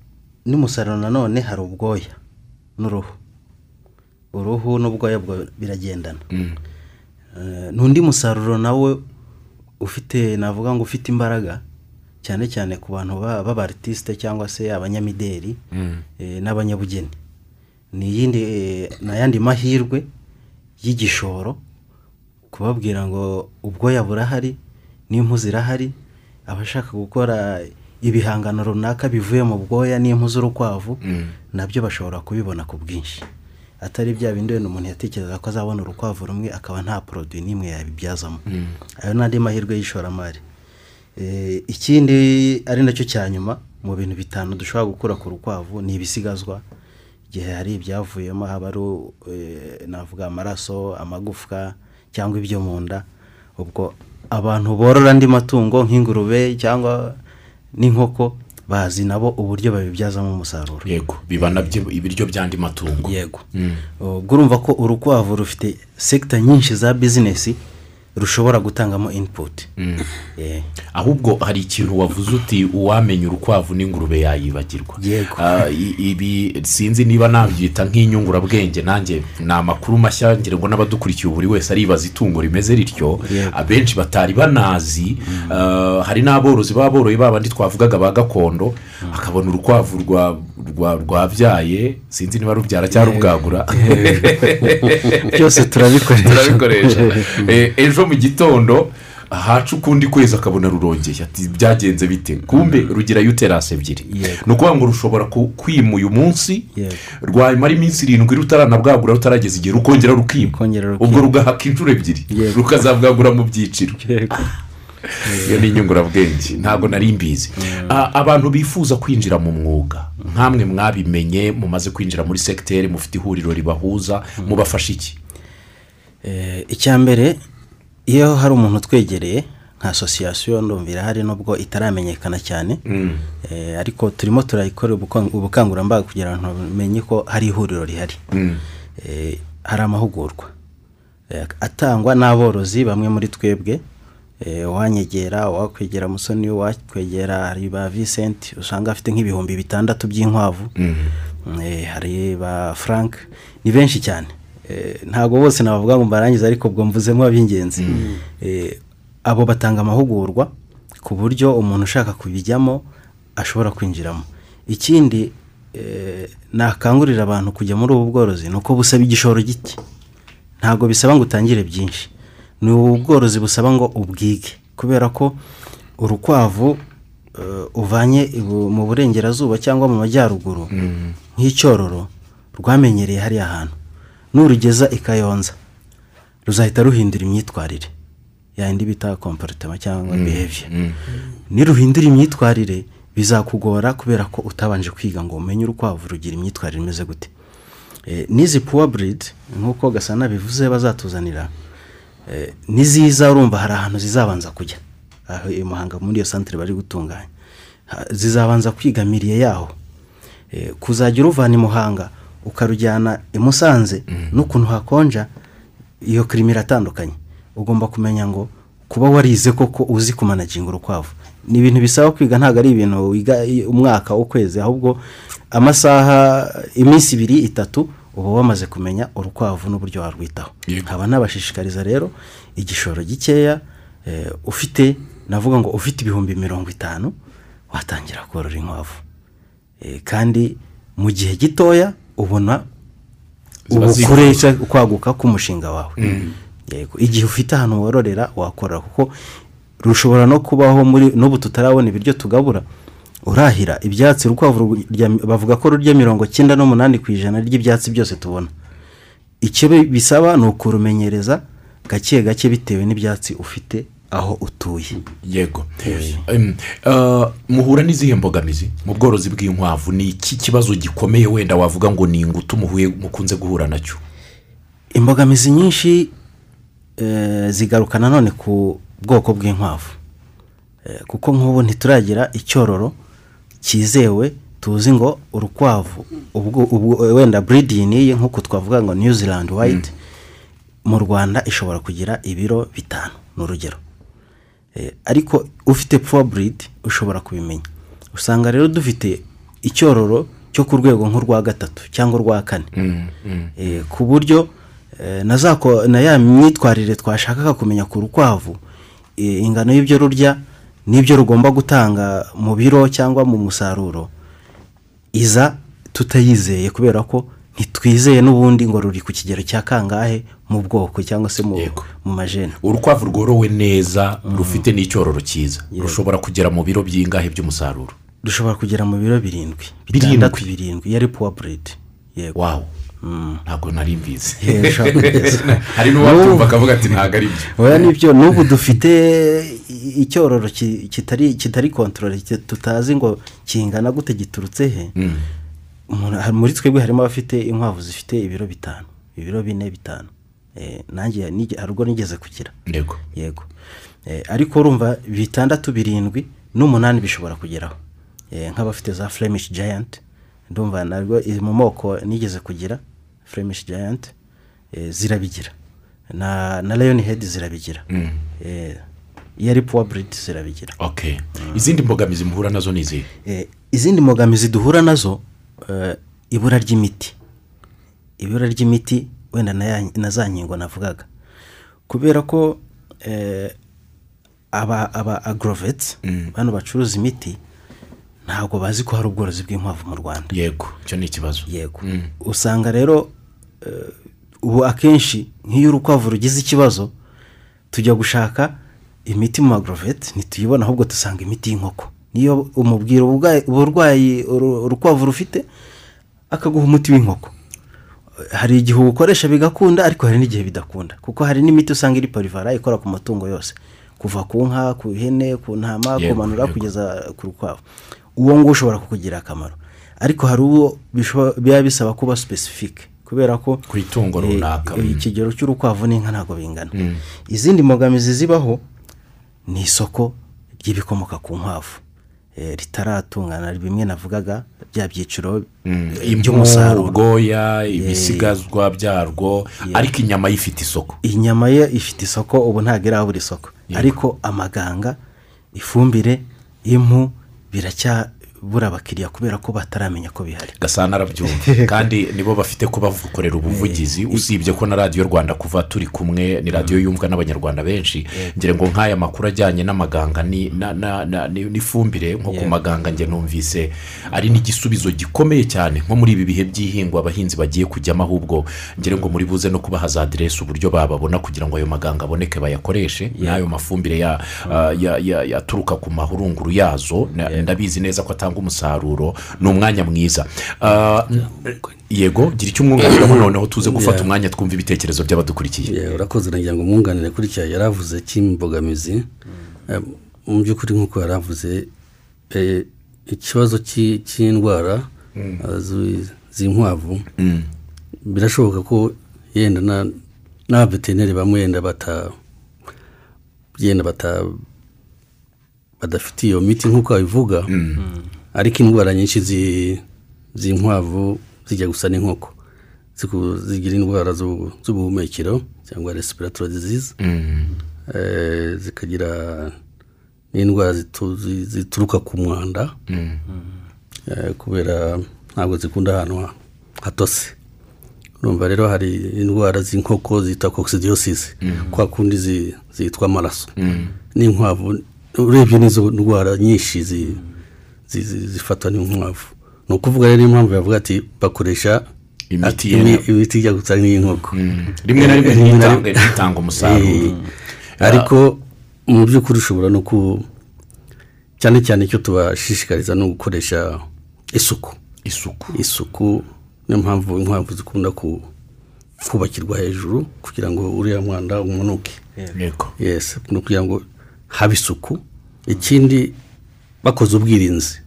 n'umusaruro nanone hari ubwoya n'uruhu uruhu n'ubwoya bwo biragendana Mm. Eh, n'undi musaruro nawe ufite navuga ngo ufite imbaraga cyane cyane ku bantu ba- b'abaritiste cyangwa se abanyamideli eh, n'abanyabugeni ni iyindi eh, ni ayandi mahirwe y'igishoro kubabwira ngo ubwoya burahari n'impu zirahari abashaka gukora ibihangano runaka bivuye mu bwoya n'impu z'urukwavu Mm. nabyo bashobora kubibona ku bwinshi atari bya bindi wenda umuntu yatekerezaga ko azabona urukwavu rumwe akaba nta poroduwi n'imwe yabibyazamo ayo ni andi mahirwe y'ishoramari Eh, ikindi ari nacyo cya nyuma mu bintu bitanu dushobora gukura ku rukwavu ni ibisigazwa igihe hari ibyavuyemo haba ari eh, navuga amaraso amagufwa cyangwa ibyo mu nda ubwo abantu borora andi matungo nk'ingurube cyangwa n'inkoko bazi nabo uburyo babibyazamo umusaruro yego biba nabyo ibiryo by'andi matungo yego ubwo urumva ko urukwavu rufite sekita nyinshi za bizinesi rushobora gutangamo inputi Eh. ahubwo hari ikintu wavuze uti uwamenya urukwavu n'ingurube yayibagirwa Yego. Ah, i- ibi sinzi niba nabyita nk'inyungurabwenge nanjye ni amakuru mashya ngira ngo n'abadukurikiye buri wese aribaza itungo rimeze rityo Yego. abenshi batari banazi ah, hari n'aborozi baba boroye babandi twavugaga ba gakondo Hmm. akabona urukwavu rwa- rwa- rwabyaye sinzi niba rubyara cyangwa rubwagura byose turabikoresha turabikoresha Eh, ejo mu gitondo haca ukundi kwezi akabona rurongeye ati byagenze bite kumbe rugira yuterasi ebyiri Mm. Yego. ni ukuvuga ngo rushobora ku- kwima uyu munsi Yego. rwamara iminsi irindwi rutaranabwagura rutarageza igihe rukongera rukima Rukongera rukima. ubwo rugahaka inshuro ebyiri Yego. rukazabwagura mu byiciro Yego. iyo ni inyungurabwenge ntabwo nari mbizi Mm. A- abantu bifuza kwinjira mu mwuga nk'amwe mwabimenye mumaze kwinjira muri segiteri mufite ihuriro ribahuza Mm. mubafasha iki Eh, icya mbere iyo hari umuntu utwegereye nka asosiyasiyo ndumva irahari nubwo itaramenyekana cyane Eh, ariko turimo turayikora ubukang- ubukangurambaga kugira ngo bamenye ko hari ihuriro rihari Eh, hari amahugurwa Eh, atangwa n'aborozi bamwe muri twebwe Eh, uwanyegera uwakwegera musoni uwakwegera hari ba visenti usanga afite nk'ibihumbi bitandatu by'inkwavu Eh, hari ba frank ni benshi cyane Eh, ntabwo bose nabavuga ngo mbarangize ariko ubwo mvuzemo ab'ingenzi Eh, abo batanga amahugurwa ku buryo umuntu ushaka kubijyamo ashobora kwinjiramo ikindi eh, nakangurira abantu kujya muri ubu bworozi ni uko busaba igishoro gike ntabwo bisaba ngo utangire byinshi ni ubu bworozi busaba ngo ubwige kubera ko urukwavu eh, uvanye ibu- mu burengerazuba cyangwa mu majyaruguru nk'icyororo rwamenyereye hariya hantu n'urugeza i kayonza ruzahita ruhindura imyitwarire yayindi bita komporutema cyangwa behavior niruhindura imyitwarire bizakugora kubera ko utabanje kwiga ngo umenye urukwavu rugira imyitwarire imeze gute Eh, n'izi puwa buridi nk'uko gasana bivuze bazatuzanira eh, n'iziza urumva hari ahantu zizabanza kujya aho i muhanga muri iyo santire bari gutunganya Ha- zizabanza kwigamiriye yaho Eh, kuzajya uruvana i muhanga ukarujyana i musanze n'ukuntu hakonja iyo kirimo iratandukanye ugomba kumenya ngo kuba warize koko uzi kumanaginga urukwavu ni ibintu bisaba kwiga ntabwo ari ibintu wiga i- umwaka ukwezi ahubwo amasaha iminsi ibiri itatu uba wamaze kumenya urukwavu n'uburyo warwitaho Yego. nkaba nabashishikariza rero igishoro gikeya eh, ufite navuga ngo ufite ibihumbi mirongo itanu watangira korora inkwavu Eh, kandi mu gihe gitoya ubona Ziba ubukure zikuze. kwaguka k'umushinga wawe yego igihe ufite ahantu wororera wakorera kuko rushobora no kubaho muri n'ubu tutarabona ibiryo tugabura urahira ibyatsi urukwavu rurya- bavuga ko rurya mirongo cyenda n'umunani ku ijana ry'ibyatsi byose tubona icyo bi- bisaba ni ukurumenyereza gake gake bitewe n'ibyatsi ufite aho utuye yego Em, ah, muhura n'izihe mbogamizi mu bworozi bw'inkwavu ni iki kibazo gikomeye wenda wavuga ngo ni ingutu muhuye mukunze guhura nacyo imbogamizi nyinshi eh, zigaruka nanone ku bwoko bw'inkwavu Eh, kuko nk'ubu ntituragira icyororo cyizewe tuzi ngo urukwavu ubwo, ubwo, eh, wenda breeding ye nk'uko twavuga ngo new zealand white mu rwanda ishobora kugira ibiro bitanu ni urugero Eh, ariko ufite poor breed ushobora kubimenya usanga rero dufite icyororo cyo ku rwego nk'urwa gatatu cyangwa urwa kane Eh, ku buryo eh, na za ko- na ya myitwarire twashakaga kumenya ku rukwavu eh, ingano y'ibyo rurya n'ibyo rugomba gutanga mu biro cyangwa mu musaruro iza tutayizeye kubera ko ntitwizeye n'ubundi ngo ruri ku kigero cya kangahe mu bwoko cyangwa se mu, Yego. mu majene urukwavu rworowe neza rufite n'icyororo cyiza rushobora kugera mu biro by'ingahe by'umusaruro rushobora kugera mu biro birindwi Birindwi? bitandatu birindwi iyo ari puwa buridi yego Mm. wawo ntabwo nari mbizi Eh, ushobora kugeza hari n'uwabyumva akavuga ati ntabwo ari byo oya nibyo n'ubu dufite i- icyororo ki- kitari kitari kontorore ki- tutazi ngo kingana gute giturutse he Mm. Umuntu- ha- muri twebwe harimo abafite inkwavu zifite ibiro bitanu ibiro bine bitanu Eh, nanjye nige- hari ubwo nigeze kugira yego yego Eh, ariko urumva bitandatu birindwi n'umunani bishobora kugeraho Eh, nk'abafite za flemish giant ndumva nabwo iri mu moko nigeze kugira flemish giant eh, zirabigira na na leon head zirabigira Eh, iyo ari puwa buridi zirabigira ok izindi mbogamizi muhura nazo ni izihe Eh, izindi mbogamizi duhura nazo eh, ibura ry'imiti ibura ry'imiti wenda na ya- na za nkingo navugaga kubera ko eh, aba aba agoroveti bano bacuruza imiti ntabwo bazi ko hari ubworozi bw'inkwavu mu rwanda yego icyo ni ikibazo yego Mm. usanga rero eh, ubu akenshi nk'iyo urukwavu rugize ikibazo tujya gushaka imiti mu magoroveti ntituyibona ahubwo dusanga imiti y'inkoko niyo umubwira ubwa- uburwayi uru- urukwavu rufite akaguha umuti w'inkoko hari igihe uwukoresha bigakunda ariko hari n'igihe bidakunda kuko hari n'imiti usanga iri parivara ikora ku matungo yose kuva ku nka ku ihene ku ntama Yego, kumanura yego. kugeza ku rukwavu uwo nguwo ushobora kukugira akamaro ariko hari uwo bishobora- biba bisaba kuba sipesifike kubera ko Ku itungo eh, runaka, eh, mm. ikigero cy'urukwavu n'inka ntabwo bingana izindi mbogamizi zibaho ni isoko ry'ibikomoka ku nkwavu Eh, ritaratungana bimwe navugaga bya byiciro Mm. eh, impu by'umusaruro ubwoya ibisigazwa byarwo ariko inyama ifite isoko inyama ye ifite isoko ubu ntabwo irabura isoko ariko amaganga ifumbire impu biracya bura abakiriya kubera ko bataramenya ko bihari gasana arabyumva kandi nibo bafite kubakorera ubuvugizi usibye ko na radiyo rwanda kuva turi kumwe ni radiyo yumvwa n'abanyarwanda benshi ngira ngo nk'aya makuru ajyanye n'amaganga ni- na- na- na- ni- n'ifumbire nko ku maganga njye numvise ari n'igisubizo gikomeye cyane nko muri ibi bihe by'ihingwa abahinzi bagiye kujyamo ahubwo ngira ngo muri buze no kubaha za aderesi uburyo bababona kugira ngo ayo maganga aboneke bayakoreshe n'ayo mafumbire ya- ah, ya- ya- yaturuka ku mahurunguru yazo na- ndabizi neza ko atanga umusaruro ni umwanya mwiza Ah, yego gira icyo umwunganiramo noneho tuze gufata Yeah. umwanya twumve ibitekerezo by'abadukurikiye Yeah, Eh, urakoze nagira ngo umwunganire kuri cya yari avuze cy'imbogamizi Eh, mu by'ukuri nk'uko yari avuze eh, ikibazo cy'i- cy'indwara eh, zi- z'inkwavu birashoboka ko yenda na- n'abaveterineri bamwe yenda bata yenda bata badafite iyo miti nk'uko babivuga ariko indwara nyinshi zi- z'inkwavu zijya gusa n'inkoko ziku- zigira indwara z'ubu- z'ubuhumekero cyangwa respiratory disease Mm. Eh, zikagira n'indwara zitu- zi- zituruka ku mwanda Eh, kubera ntabwo zikunda ahantu ha- hatose urumva rero hari indwara z'inkoko zita coccidiosis kwa kundi zi- zitwa amaraso n'inkwavu urebye n'izo ndwara nyinshi zi- zi- zi- zifatwa n'inkwavu ni ukuvuga rero impamvu yavuga ati bakoresha Imiti Mm. ati- yemewe. imi- imiti ijya gusa n'inkoko rimwe na rimwe Eh, rimwe na ntitange rimwe. ntitange umusaruro Eh, ariko mu by'ukuri ushobora no ku cyane cyane icyo tubashishikariza ni ugukoresha isuku isuku isuku niyo mpamvu inkwavu zikunda ku- kubakirwa hejuru kugira ngo uriya mwanda umunuke yego yes ni ukugira ngo habe isuku ikindi bakoze ubwirinzi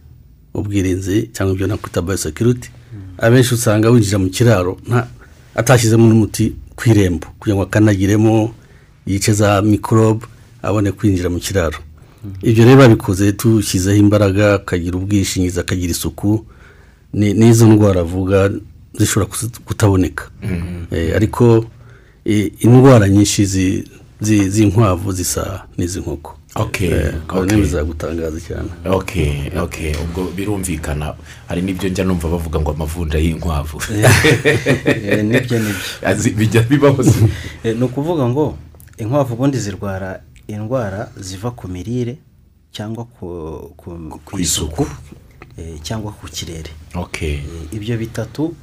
ubwirinzi cyangwa ibyo nakwita bayosekiriti abenshi usanga winjira mu kiraro nta atashyizemo n'umuti ku irembo kugira ngo akanagiremo yice za mikorobe abone kwinjira mu kiraro ibyo rero babikoze dushyizeho imbaraga akagira ubwishingizi akagira isuku ni- n'izo ndwara avuga zishobora kuzi- kutaboneka Mm-hmm. Eh, ariko eh, indwara nyinshi zi- zi- z'inkwavu zisa n'iz'inkoko Okay, Eh, ukabona okay. ntibizagutangaza cyane ok ok ubwo birumvikana hari n'ibyo njya numva bavuga ngo amavunja y'inkwavu Eh, nibyo nibyo Azi- bijya bibaho se. Eh, ni ukuvuga ngo inkwavu ubundi zirwara indwara ziva ku mirire cyangwa ku- ku ku isuku eh, cyangwa ku kirere ok Eh, ibyo bitatu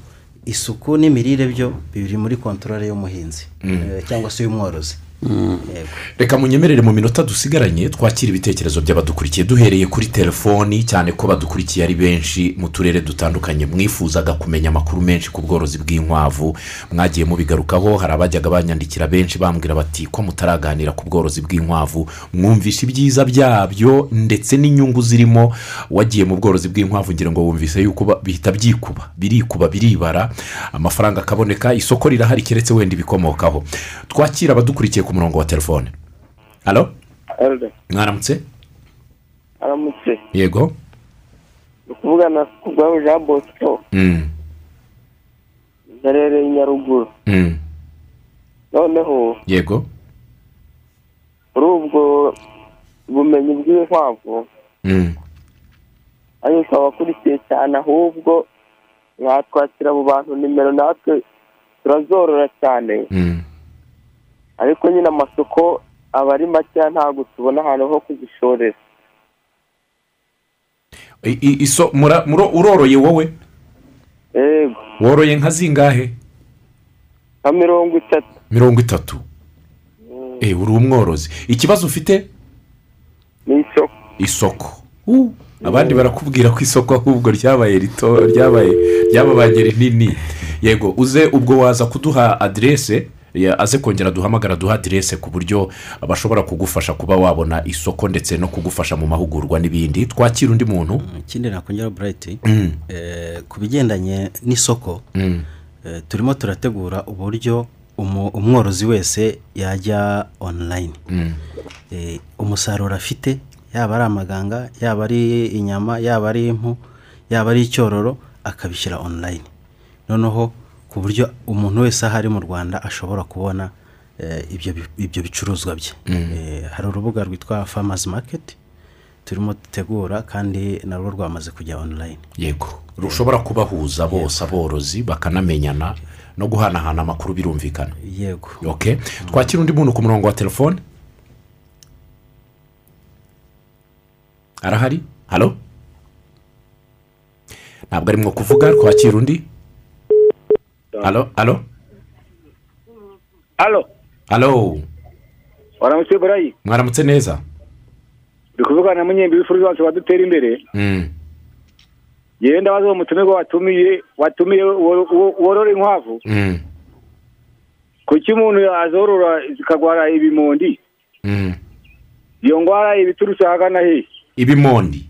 isuku n'imirire byo biri muri kontorore y'umuhinzi eh, cyangwa se y'umworozi Yego. reka munyemerere mu minota dusigaranye twakira ibitekerezo by'abadukurikiye duhereye kuri telefoni cyane ko badukurikiye ari benshi mu turere dutandukanye mwifuzaga kumenya amakuru menshi ku bworozi bw'inkwavu mwagiye mubigarukaho hari abajyaga banyandikira benshi bambwira bati ko mutaraganira ku bworozi bw'inkwavu mwumvisha ibyiza byabyo ndetse n'inyungu zirimo wagiye mu bworozi bw'inkwavu ngira ngo wumvise yuko ba- bihita byikuba birikuba biribara amafaranga akaboneka isoko rirahari keretse wenda ibikomokaho twakira abadukurikiye ku murongo wa telefone halo Elda mwaramutse aramutse yego ni ukuvuga na kubwawe jean bosco Mm, ndarereye nyaruguru mm, noneho yego muri ubwo bumenyi bw'inkwavu Mm, ariko abakurikiye cyane ahubwo mwatwakira abo bantu nimero natwe turazorora cyane mm, ariko nyine amasoko aba ari makeya ntabwo tubona ahantu ho kuzishorera I- i- iso mura- muro- uroroye wowe yego woroye nka zingahe nka mirongo itatu mirongo itatu Eh, uri umworozi ikibazo ufite ni isoko isoko Uh, abandi barakubwira ko isoko ahubwo ryabaye rito ryabaye ryababanye rinini yego uze ubwo waza kuduha aderese ya- aze kongera duhamagara duha aderese ku buryo bashobora kugufasha kuba wabona isoko ndetse no kugufasha mu mahugurwa n'ibindi twakira undi muntu ikindi nakongera burayiti eh, ku bigendanye n'isoko eh, turimo turategura uburyo umu- umworozi wese yajya online Eh, umusaruro afite yaba ari amaganga yaba ari inyama yaba ari impu yaba ari icyororo akabishyira online noneho ku buryo umuntu wese aho ari mu rwanda ashobora kubona eh, ibyo bi- ibyo bicuruzwa bye Eh, hari urubuga rwitwa farmers market turimo dutegura kandi narwo rwamaze kujya onurayini yego rushobora kubahuza bose aborozi bakanamenyana no guhanahana amakuru birumvikana yego ok twakira undi muntu ku murongo wa telefone arahari halo ntabwo arimo kuvuga twakira undi halo halo halo halo waramutse burayi mwaramutse neza turi kuvugana na munyembe w'ifurizansi wadutera imbere Mm. yewe ndabaza uwo mutumirwa watumiye watumiye wo- wo- worora inkwavu Mm. kuki umuntu azorora zikarwara ibimundi Mm. iyo ndwara iba iturutse ahagana hehe ibimondi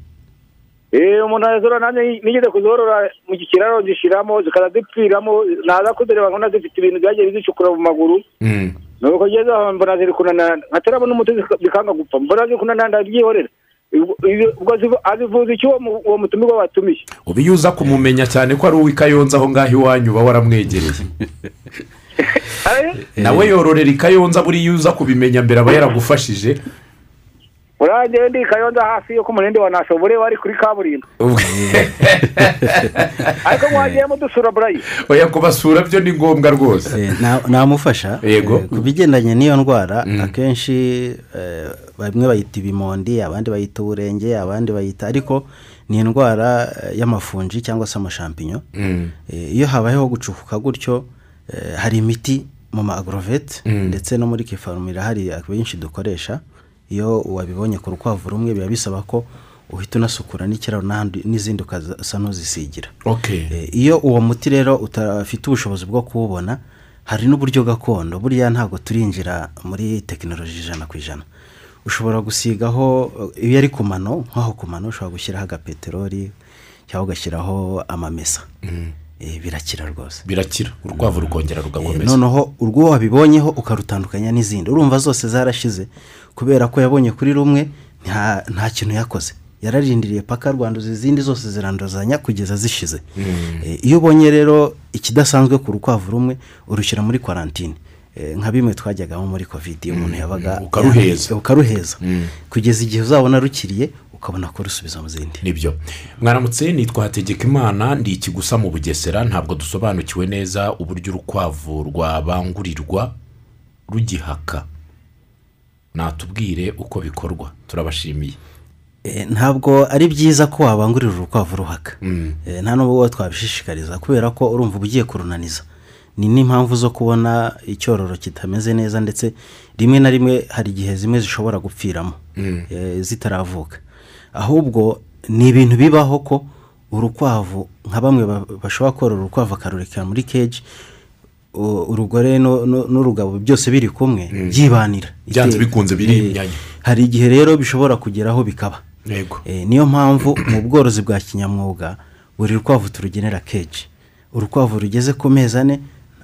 eee umuntu azorora nanjye nigeze kuzorora mu gikiraro zishyiramo zikazazipfiramo naza kuzireba nkabona zifite ibintu byagiye bizicukura mu maguru Mm. nuko ngeze aho mbona ziri kunanana nkatarabona umuti zika- zikanga gupfa mbona ziri kunanana ndabyihorera Ubwo- ubwo zivu- azivuza icyo uwo mu- uwo mutumirwa watumiye uba iyo uza kumumenya cyane ko ari uw'i kayonza aho ngaho iwanyu uba waramwegereye Eh, nawe yororera i kayonza buriya iyo uza kubimenya mbere aba yaragufashije urangiye ndi kayonza hafi yo ku murindi wa nashobore wari kuri kaburimbo Ubwo- ariko mwagiyemo dusura burayi oya kubasura byo ni ngombwa rwose Eh, na- namufasha Yego. Mm. Eh, ku bigendanye n'iyo ndwara akenshi eh, bamwe bayita ibimondi abandi bayita uburenge abandi bayita ariko ni indwara eh, y'amafunji cyangwa se amashampinyo Mm. Eh, iyo habayeho gucukuka gutyo eh, hari imiti mu ma agoroveti Mm. ndetse no muri kifarumira irahari abenshi dukoresha iyo wabibonye ku rukwavu rumwe biba bisaba ko uhita unasukura n'ikiraro n'ahandi- n'izindi ukasa n'uzisigira ok Eh, iyo uwo muti rero utafite ubushobozi bwo kuwubona hari n'uburyo gakondo buriya ntabwo turinjira muri tekinoloji ijana ku ijana ushobora gusigaho eh, iyo ari ku mano nk'aho ku mano ushobora gushyiraho agapeteroli cyangwa ugashyiraho amamesa Eh, birakira rwose birakira urukwavu rukongera Eh, rugakomeza noneho urwo wabibonyeho ukarutandukanya n'izindi urumva zose zarashize kubera ko yabonye kuri rumwe nta nta kintu yakoze yararindiriye paka rwanduza izindi zose ziranduzanya kugeza zishize Eh, iyo ubonye rero ikidasanzwe ku rukwavu rumwe urushyira muri kwarantine Eh, nka bimwe twajyagamo muri kovidi iyo umuntu yabaga ukaruheza. ukaruheza kugeza igihe uzabona rukiriye ukabona kurusubiza mu zindi nibyo mwaramutse nitwa hategekimana ndi ikigusa mu bugesera ntabwo dusobanukiwe neza uburyo urukwavu rwabangurirwa rugihaka natubwire uko bikorwa turabashimiye Eh, ntabwo ari byiza ko wabangurira urukwavu ruhaka Mm. Eh, nta n'ubwo twabishishikariza kubera ko urumva uba ugiye kurunaniza ni n'impamvu zo kubona icyororo kitameze neza ndetse rimwe na rimwe hari igihe zimwe zishobora gupfiramo Mm. eh, zitaravuka ahubwo ni ibintu bibaho ko urukwavu nka bamwe ba- bashobora korora urukwavu akarurekera muri keji u- urugore no- no- n'urugabo byose biri kumwe byibanira Mm. Byanze bikunze biri Eh, imyanya. hari igihe rero bishobora kugeraho bikaba yego Eh, niyo mpamvu mu bworozi bwa kinyamwuga buri rukwavu turugenera keji urukwavu rugeze ku mezi ane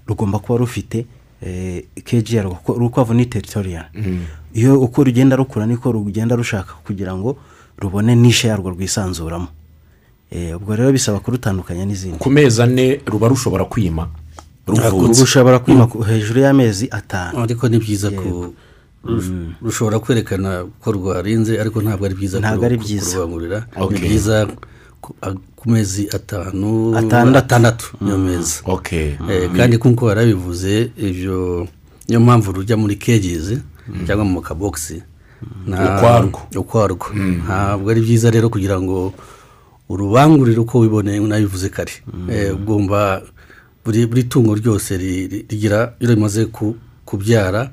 rugomba kuba rufite eh, keji yarwo kuko urukwavu ni teritoriyari iyo uko rugenda rukura niko rugenda rushaka kugira ngo rubone nishe yarwo rwisanzuramo Eh, ubwo rero bisaba kurutandukanya n'izindi ku mezi ane ruba rushobora kwima ruvutse rushobora kwima ku- hejuru y'amezi atanu ariko ni byiza ko Mm-hmm. rushobora kwerekana ko rwarinze ariko ntabwo ari byiza Ntabwo kuru- ari byiza. kurubangurira ni Okay. byiza ku- a- ku mezi atanu Atandatu. Mm-hmm. atandatu niyo mezi ok Eh, kandi nk'uko warabivuze ibyo niyo mpamvu rujya muri kegizi cyangwa mu kabogisi nta- Ukwarwo. ukwarwo ntabwo ari byiza rero kugira ngo urubangurire uko wiboneye nabivuze kare Eh, ugomba buri buri tungo ryose ri- ri- rigira iyo rimaze ku- kubyara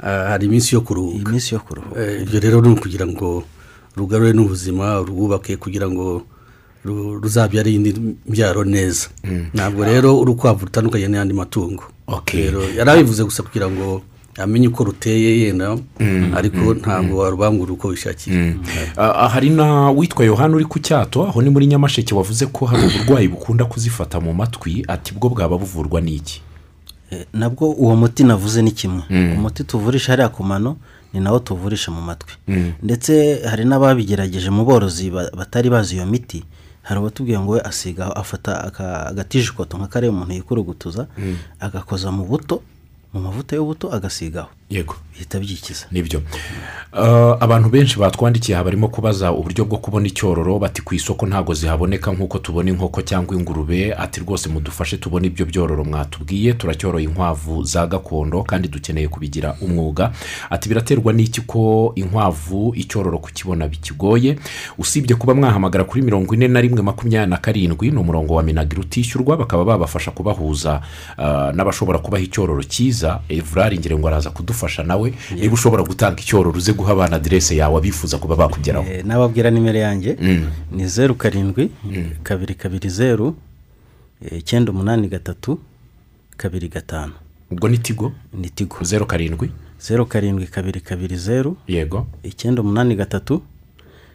ah, hari iminsi yo iyi kuruhuka minsi yo kuruhuka Eh, ibyo rero ni ukugira ngo rugarure n'ubuzima rwubake kugira ngo ru- ruzabyare iyindi mbyaro neza ntabwo rero urukwavu rutandukanye n'ayandi matungo Okay. rero yarabivuze gusa kugira ngo amenye uko ruteye yenda ariko ntabwo warubangura uko bishakiye Ah, hari na witwa yohani uri ku cyato aho ni muri nyamasheke wavuze ko hari uburwayi bukunda kuzifata mu matwi ati bwo bwaba buvurwa n'iki Eh, nabwo uwo muti navuze ni kimwe Hmm. umuti tuvurisha hariya ku mano ni nawo tuvurisha mu matwi Hmm. ndetse hari n'ababigerageje mu borozi ba- batari bazi iyo miti hari abatubwiye ngo we asigaho afata aka- Hmm. agatijikoto nka kariya umuntu yikurugutuza agakoza mu buto mu mavuta y'ubuto agasigaho yego bihita byikiza nibyo Ah, abantu benshi batwandikiye aha barimo kubaza uburyo bwo kubona icyororo bati ku isoko ntabwo zihaboneka nk'uko tubona inkoko cyangwa ingurube ati rwose mudufashe tubone ibyo byororo mwatubwiye turacyoroye inkwavu za gakondo kandi dukeneye kubigira umwuga ati biraterwa n'iki ko inkwavu icyororo kukibona bikigoye usibye kuba mwahamagara kuri mirongo ine na rimwe makumyabiri na karindwi ni umurongo wa minagiri utishyurwa bakaba babafasha kubahuza ah, n'abashobora kubaha icyororo cyiza evurari ngira ngo araza kudufasha nawe niba ushobora gutanga icyororo uze guha abana aderese yawe abifuza kuba bakugeraho Eh, nababwira nimero yanjye Hmm. ni zeru karindwi kabiri kabiri zeru eh, icyenda umunani gatatu kabiri gatanu ubwo ni tigo ni tigo zeru karindwi zeru karindwi kabiri kabiri zeru yego icyenda umunani gatatu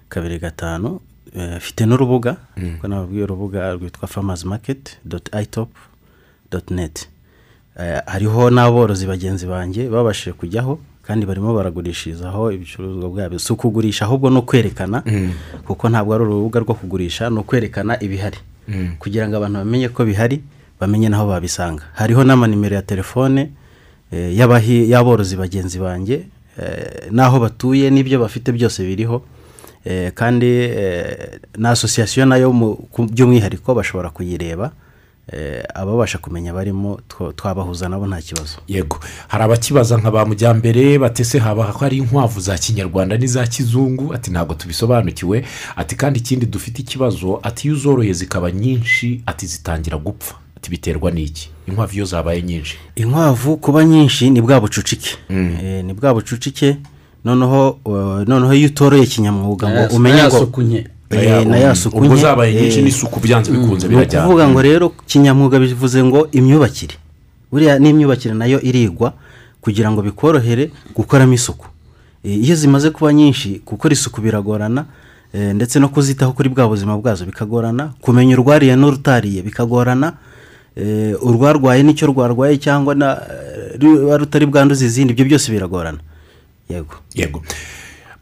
kabiri gatanu Eh, afite n'urubuga kuko nababwiye urubuga rwitwa famazi maketi doti ayitopu doti neti Eh, hariho n'aborozi bagenzi banjye babashije kujyaho kandi barimo baragurishirizaho ibicuruzwa byabo si ukugurisha ahubwo no kwerekana kuko ntabwo ari urubuga rwo kugurisha ni ukwerekana ibihari kugira ngo abantu bamenye ko bihari bamenye n'aho babisanga hariho n'amanimero ya telefone eh, y'abahi- y'aborozi bagenzi banjye eh, n'aho batuye n'ibyo bafite byose biriho Eh, kandi eh, na asosiyasiyo nayo mu- ku- by'umwihariko bashobora kuyireba eh, ababasha kumenya barimo two- twabahuza nabo nta kibazo yego hari abakibaza nka ba mujyambere batese haba ko ari inkwavu za kinyarwanda n'iza kizungu ati ntabwo tubisobanukiwe ati kandi ikindi dufite ikibazo ati iyo uzoroye zikaba nyinshi ati zitangira gupfa ati biterwa n'iki inkwavu iyo zabaye nyinshi inkwavu kuba nyinshi ni bwa bucucike Mm. Eh, ni bwa bucucike noneho eh, noneho iyo utoroye kinyamwuga ngo umenye ngo yasukunye Eh, na ya suku ubwo nke, zabaye nyinshi eh, mm, n'isuku byanze bikunze ni birajyana ukuvuga ngo rero kinyamwuga bivuze ngo imyubakire buriya n'imyubakire nayo irigwa kugira ngo bikorohere gukoramo isuku Eh, iyo zimaze kuba nyinshi gukora isuku biragorana eh, ndetse no kuzitaho kuri bwa buzima bwazo bikagorana kumenya urwariye n'urutariye bikagorana Eh, urwarwaye n'icyo rwarwaye cyangwa na eh, ruba rutari bwanduze izindi ibyo byose biragorana yego yego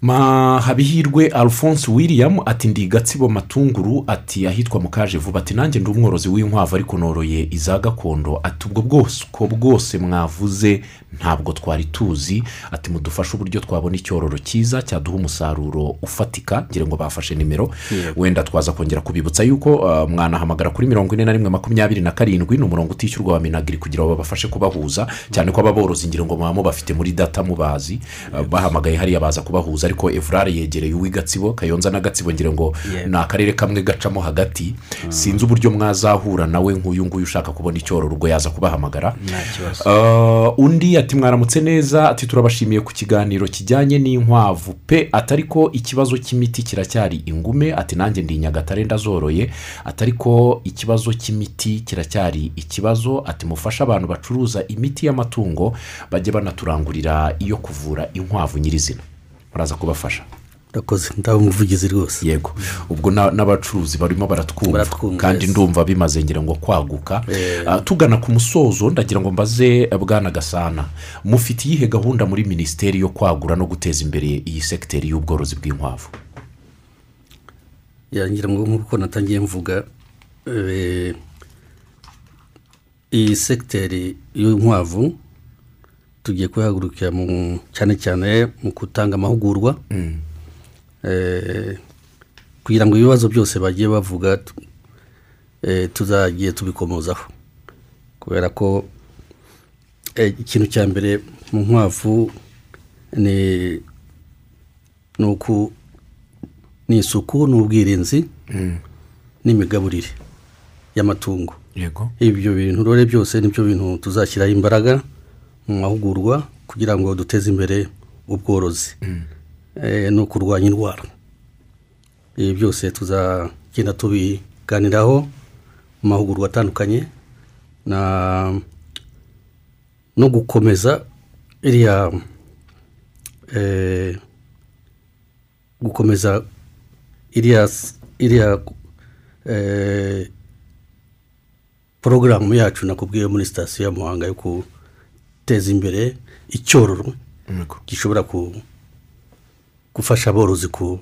Ma- habihirwe alphonse william ati ndi gatsibo matunguru ati ahitwa mukaje vuba ati nanjye ndi umworozi w'inkwavu ariko noroye iza gakondo ati ubwo bwose uko bwose mwavuze ntabwo twari tuzi ati mudufashe uburyo twabona icyororo cyiza cyaduha umusaruro ufatika ngira ngo bafashe nimero wenda twaza kongera kubibutsa yuko uh, mwanahamagara kuri mirongo ine na rimwe makumyabiri na karindwi ni umurongo utishyurwa wa minagiri kugira ngo babafashe kubahuza cyane ko ababorozi ngira ngo muba mubafite muri data mubazi uh, bahamagaye hariya baza kubahuza ariko evurare yegereye uw'igatsibo kayonza na gatsibo ngira ngo ni akarere kamwe gacamo hagati sinzi uburyo mwazahura nawe nk'uyu nguyu ushaka kubona icyororo ubwo yaza kubahamagara nta kibazo Uh, undi ati mwaramutse neza ati turabashimiye ku kiganiro kijyanye n'inkwavu pe atari ko ikibazo cy'imiti kiracyari ingume ati nanjye ndi nyagatare ndazoroye atari ko ikibazo cy'imiti kiracyari ikibazo ati mufashe abantu bacuruza imiti y'amatungo bajye banaturangurira iyo kuvura inkwavu nyirizina muraza kubafasha urakoze ndaba umuvugizi rwose yego ubwo na- n'abacuruzi barimo baratwumva Baratwumva, kandi yes. Eh. ndumva bimaze ngira ngo kwaguka Ah, tugana ku musozo ndagira ngo mbaze eh, bwana gasana mufite iyihe gahunda muri minisiteri yo kwagura no guteza imbere iyi segiteri y'ubworozi bw'inkwavu yangira ngo nk'uko natangiye mvuga eh, iyi sekiteri y'inkwavu tugiye kuyihagurukira mu- cyane cyane mu gutanga amahugurwa Eh, kugira ngo ibibazo byose bagiye bavuga tu- eh, tuzagiye tubikomozaho kubera ko eh, ikintu cya mbere mu nkwavu ni ni uku ni isuku ni ubwirinzi n'imigaburire y'amatungo yego ibyo bintu rero byose nibyo bintu tuzashyiraho imbaraga mu mahugurwa kugira ngo duteze imbere ubworozi Eh, no kurwanya indwara ibi byose tuzagenda tubiganiraho mu mahugurwa atandukanye na no gukomeza iriya eh, gukomeza iriya iriya eh, porogaramu yacu nakubwiye muri sitasiyo ya muhanga yo guteza imbere icyororo gishobora ku- gufasha aborozi ku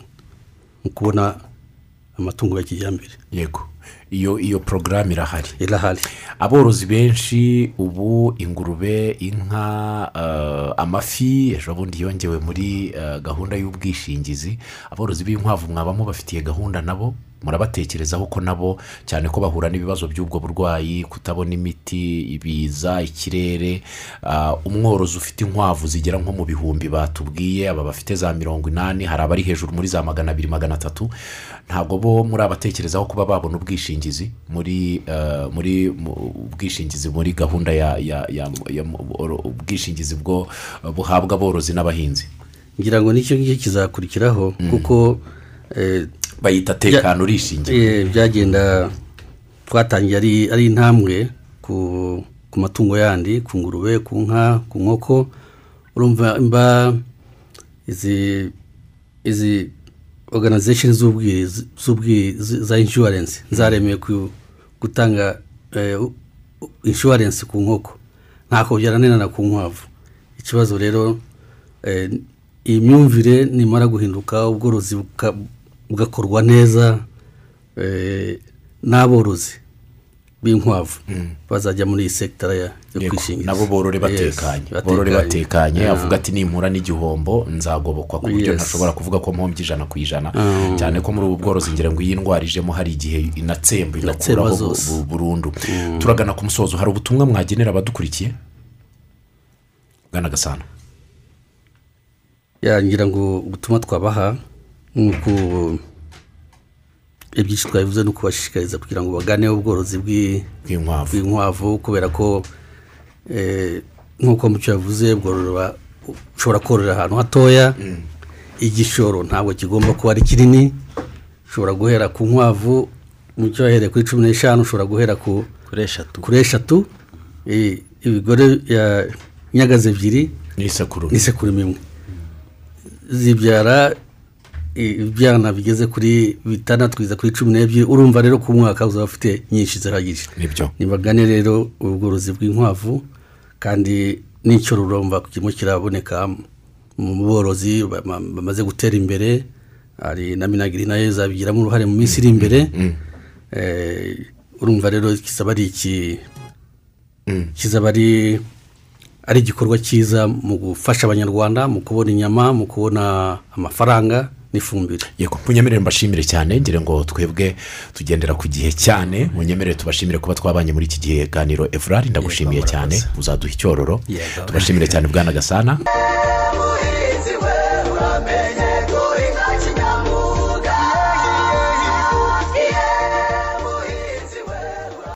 mu kubona amatungo ya kijyambere yego iyo iyo porogaramu irahari irahari aborozi benshi ubu ingurube inka eh, amafi ejo bundi yongewe muri eh, gahunda y'ubwishingizi aborozi b'inkwavu mwabamo bafitiye gahunda nabo murabatekerezaho ko nabo cyane ko bahura n'ibibazo by'ubwo burwayi kutabona imiti ibiza ikirere ah, umworozi ufite inkwavu zigera nko mu bihumbi batubwiye aba bafite za mirongo inani hari abari hejuru muri za magana abiri magana atatu ntabwo bo muri abatekerezaho kuba babona ubwishingizi muri eh, muri mu- ubwishingizi muri gahunda ya ya ya ya- mu- ubwishingizi bwo buhabwa aborozi n'abahinzi ngira ngo n'icyo ngicyo kizakurikiraho kuko eh, bayita tekano urishingiye eh, byagenda twatangiye ari ari intambwe ku ku matungo yandi ku ngurube ku nka ku nkoko urumva mba izi izi organization z'ubwirinzi z'ubwi- z- za insurance zaremewe ku- gutanga eh, u- u- insurance ku nkoko ntako byaranirana ku nkwavu ikibazo rero eh, iyi myumvire nimara guhinduka ubworozi buka- bugakorwa neza eh, n'aborozi b'inkwavu bazajya muri iyi sekitara ya- yo Mm. Yego, kwishingiza nabo borore Yes, Eh. batekanye borore batekanye avuga ati nimpura n'igihombo nzagobokwa ku buryo Yes. ntashobora kuvuga ko mpombye ijana ku ijana Mm. cyane ko muri ubu bworozi ngira ngo iyi ndwara ijemo hari igihe inatsemba Inatsemba inakuraho bu- zose. Mm. bu- burundu turagana ku musozo hari ubutumwa mwagenera abadukurikiye bwana gasana ya ngira ngo ubutumwa twabaha ni uku ibyinshi twabivuze ni ukubashishikariza kugira ngo bagane ubworozi bw'i- bw'inkwavu bw'inkwavu kubera ko eh, nk'uko mucyo yavuze bwororwa ushobora kororera ahantu hatoya Mm. igishoro ntabwo kigomba kuba ari kinini ushobora guhera ku nkwavu mucyo yahereye kuri cumi n'eshanu ushobora guhera ku kuri eshatu kuri eshatu eh, ibigore ya nyagazi ebyiri n'isekuru n'isekurume imwe zibyara ibyana bigeze kuri bitandatu kugeza kuri cumi n'ebyiri urumva rero ku mwaka uzaba ufite nyinshi zihagije nibyo nibagane rero ubworozi bw'inkwavu kandi n'icyororo mva kirimo kiraboneka mu borozi bama- bamaze gutera imbere hari na minagiri nayo zabigiramo uruhare mu minsi iri imbere Eh, urumva rero kizaba ari iki kizaba ari ari igikorwa cyiza mu gufasha abanyarwanda mu kubona inyama mu kubona amafaranga n'ifumbire yego munyemerere mbashimire cyane ngira ngo twebwe tugendera ku gihe cyane munyemerere tubashimire kuba twabanye muri iki gihe ganiro evurari ndagushimiye cyane uzaduha icyororo Yego. tubashimire cyane bwana gasana